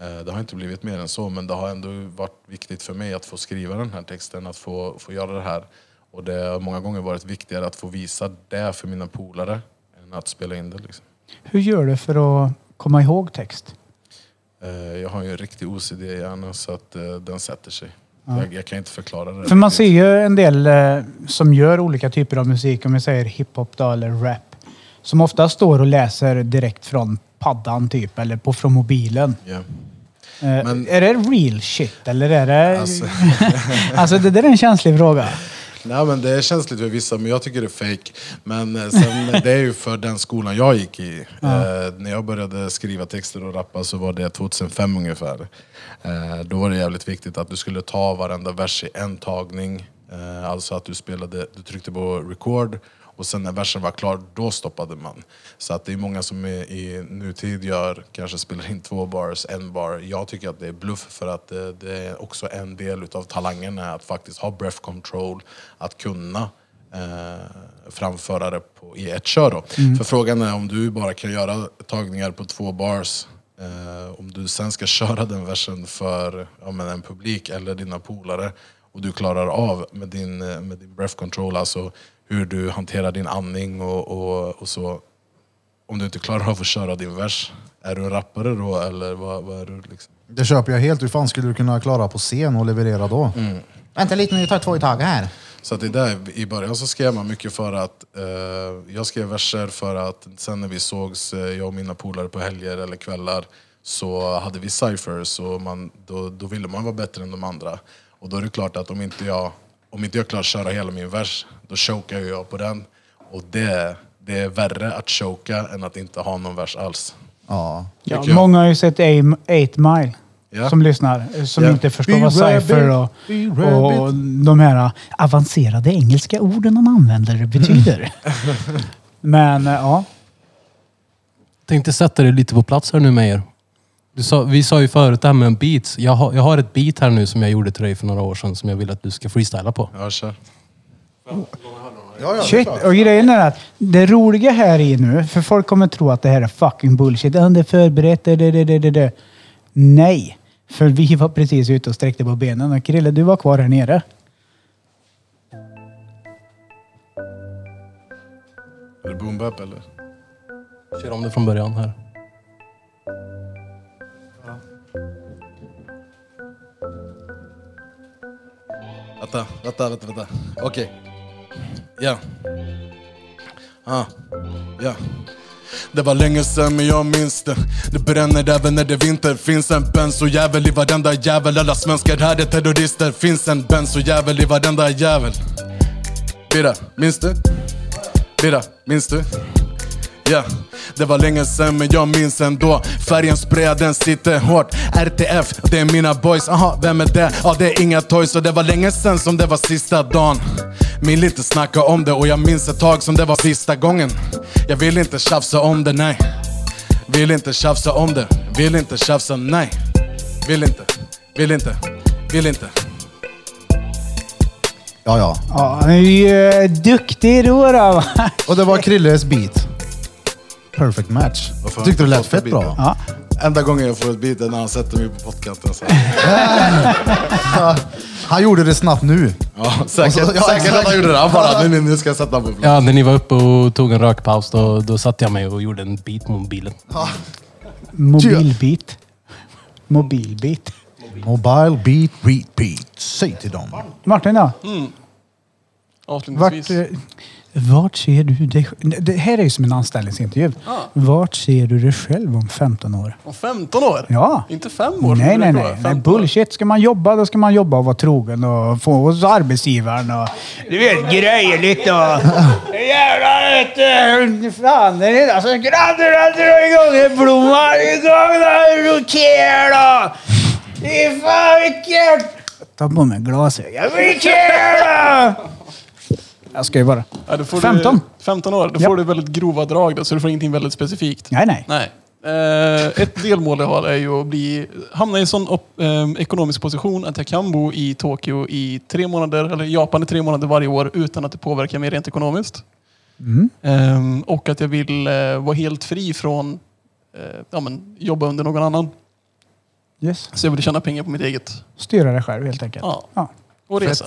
Eh, det har inte blivit mer än så, men det har ändå varit viktigt för mig att få skriva den här texten, att få, få göra det här. Och det har många gånger varit viktigare att få visa det för mina polare än att spela in det. Liksom.
Hur gör du för att komma ihåg text?
Eh, Jag har ju en riktig OCD-hjärna så att eh, den sätter sig.
Ja.
Jag, jag kan inte förklara det.
För man ser ju en del eh, som gör olika typer av musik, om vi säger hiphop då, eller rap, som ofta står och läser direkt från paddan typ, eller på, från mobilen.
Ja.
Eh,
Men-
är det real shit eller är det... Alltså,
Alltså.
det där är en känslig fråga.
Nej men det är känsligt för vissa, men jag tycker det är fake. Men eh, sen, det är ju för den skolan jag gick i. Eh, när jag började skriva texter och rappa så var det 2005 ungefär. Eh, då var det jävligt viktigt att du skulle ta varenda vers i en tagning. Eh, alltså att du spelade, du tryckte på record och sen när versen var klar, då stoppade man. Så att det är många som är i nutid gör, kanske spelar in två bars, en bar. Jag tycker att det är bluff för att det, det är också en del utav talangen är att faktiskt ha breath control, att kunna eh, framföra det på, i ett kör. Då. För frågan är om du bara kan göra tagningar på två bars, eh, om du sen ska köra den versen för ja, men en publik eller dina polare och du klarar av med din, eh, med din breath control, alltså hur du hanterar din andning och, och, och så. Om du inte klarar av att köra din vers, är du en rappare då eller vad, vad är du? Liksom?
Det köper jag helt. Hur fan skulle du kunna klara på scen och leverera då? Mm. Vänta lite nu, tar två i taget här.
Så att det där, i början så skrev man mycket för att eh, jag skrev verser för att sen när vi sågs, eh, jag och mina polare på helger eller kvällar så hade vi cyphers och man, då, då ville man vara bättre än de andra. Och då är det klart att om inte jag, om inte jag klarar att köra hela min vers, då chokar ju jag på den. Och det, det är värre att choka än att inte ha någon vers alls.
Ja.
Ja,
Tycker jag.
många har ju sett 8 Mile
Ja.
som lyssnar, eh, som
Ja.
inte förstår
Be
vad cypher och,
rabbit, be
och de här eh, avancerade engelska orden de använder betyder. Men eh, ja,
Tänkte sätta dig lite på plats här nu Meijer. Du sa, vi sa ju förut det här med beats. Jag har, jag har ett beat här nu som jag gjorde till dig för några år sedan som jag vill att du ska freestyla på.
Ja, kör.
shit. Och grejen är att det roliga här i nu, för folk kommer tro att det här är fucking bullshit. Ja, Det är förberett, det, det, det, det, det, det. Nej, för vi var precis ute och sträckte på benen och Krille, du var kvar här nere.
Är det boom bap eller?
Kör om det från början här.
Vänta, vänta, vänta, vänta. Okej. Ja. Ah. Ja. Det var länge sen men jag minns det. Det bränner även när det är vinter. Finns en bensojävel i varenda jävel. Alla svenskar här är terrorister. Finns en bensojävel i varenda jävel. Birra, minns du? Birra, minns du? Ja, det var länge sen men jag minns ändå Färgen sprayad, den sitter hårt RTF, det är mina boys, aha vem är det? Ja det är inga toys och det var länge sen som det var sista dagen Vill inte snacka om det och jag minns ett tag som det var sista gången Jag vill inte tjafsa om det, nej Vill inte tjafsa om det, vill inte tjafsa, nej Vill inte, vill inte, vill inte
Ja, ja.
Ja, han är ju eh, duktig då. då va?
Och det var Krilles beat. Perfect match.
Varför har
Tyckte det
jag
lät
inte fått
fett
det
bra.
beatet?
Ja.
Enda gången jag får ett beat är när han sätter mig på podcasten. Så här.
Han gjorde det snabbt nu.
Ja, säkert,
Och så- ja,
säkert att
exakt.
han gjorde det. Han bara, nu, nu, nu ska jag sätta på plats.
Ja, när ni var uppe och tog en rökpaus, då, då satte jag mig och gjorde en bit med mobilen.
Mobilbit. Mobilbit.
Mobile beat repeat. Säg till dem.
Martin då?
Avslutningsvis.
Vart, eh, vart ser du dig sj- Det här är ju som en anställningsintervju. Vart ser du dig själv om 15 år?
Om 15 år?
Ja.
Inte fem år?
nej,
men
nej,
det tror
nej.
jag.
nej.
15 år.
Bullshit. Ska man jobba, då ska man jobba och vara trogen och få hos arbetsgivaren och... Du vet, grejligt och... Jävlar vet du! Fan, det är alltså grannen drar igång en blomma. Igång då! Roker då! Fy fan vilket... Ta på mig glasögon. Roker då! Jag ska ju bara...
Ja, då får
15.
Du, 15 år. Då
Ja.
får du väldigt grova drag då, så du får ingenting väldigt specifikt.
Nej, nej.
Nej.
Eh, ett delmål jag har är ju att bli, hamna i en sån op, ehm, ekonomisk position att jag kan bo i Tokyo i tre månader, eller Japan i tre månader varje år utan att det påverkar mig rent ekonomiskt. Ehm, och att jag vill eh, vara helt fri från eh, ja, men, jobba under någon annan.
Yes.
Så jag vill tjäna pengar på mitt eget.
Styra dig själv helt enkelt.
Ja.
ja.
Och resa.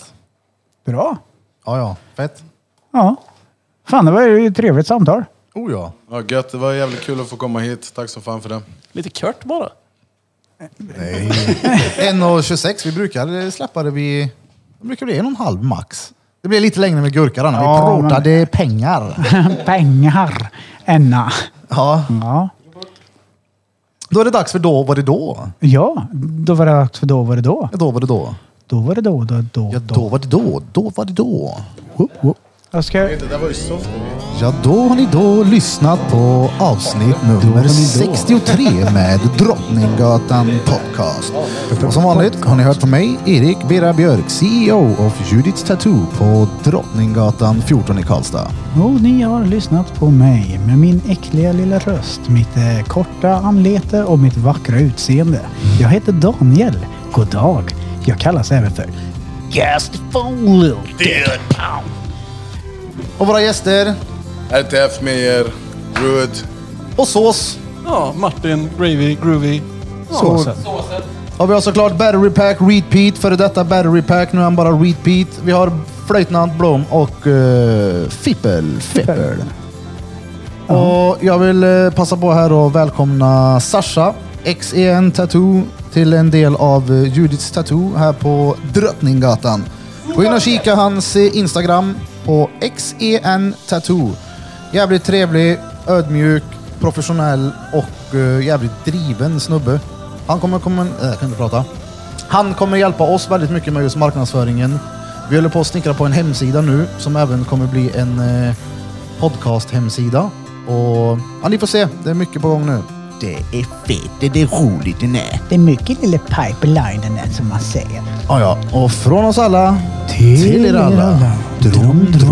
Bra.
Ja, ja. Fett.
Ja. Fan, det var ju ett trevligt samtal.
Oh ja.
Ja, gött, det var jävligt kul att få komma hit. Tack så fan för det.
Lite kört bara.
Nej. 1.26. Vi brukar eh, släppa det vid... Det brukar bli en och en halv max. Det blir lite längre med gurkan. Vi
Ja,
pratade pengar.
Pengar. Enna.
Ja.
Ja.
Då är det dags för Då var det då.
ja, då var det dags för då var det då.
Ja, Då var det då.
Då var det då, då, då,
Ja, då var det då. Då var det då.
Jag ska...
Det där var ju så fint.
Ja, då har ni då lyssnat på avsnitt nummer 63 med Drottninggatan Podcast. Och som vanligt har ni hört från mig, Erik Bera Björk, CEO of Judiths Tattoo på Drottninggatan 14 i Karlstad.
Och ni har lyssnat på mig med min äckliga lilla röst, mitt eh, korta anlete och mitt vackra utseende. Jag heter Daniel. God dag. Jag kallas även för Gast Follow.
Och våra gäster,
RTF Meyer, Ruud.
och sås,
Ja, Martin, Gravy, Groovy.
såsen. Har vi har såklart Battery Pack, Repeat, före detta Battery Pack, nu är han bara Repeat. Vi har Flöjtnant Blom och uh, Fippel. Fippel. Och jag vill eh, passa på här och välkomna Sasha, XEN Tattoo, till en del av eh, Judiths Tattoo här på Drottninggatan. Gå in och kika hans eh, Instagram på XEN Tattoo. Jävligt trevlig, ödmjuk, professionell och eh, jävligt driven snubbe. Han kommer, kommer äh, jag kan inte prata. Han kommer hjälpa oss väldigt mycket med just marknadsföringen. Vi håller på att snickra på en hemsida nu som även kommer bli en eh, podcast-hemsida. Och ja, ni får se, det är mycket på gång nu. Det är fett, det är roligt, det är.
Det är mycket lilla pipeline som man säger.
Ja, ja. Och från oss alla
Till
till er alla. Drom, drom,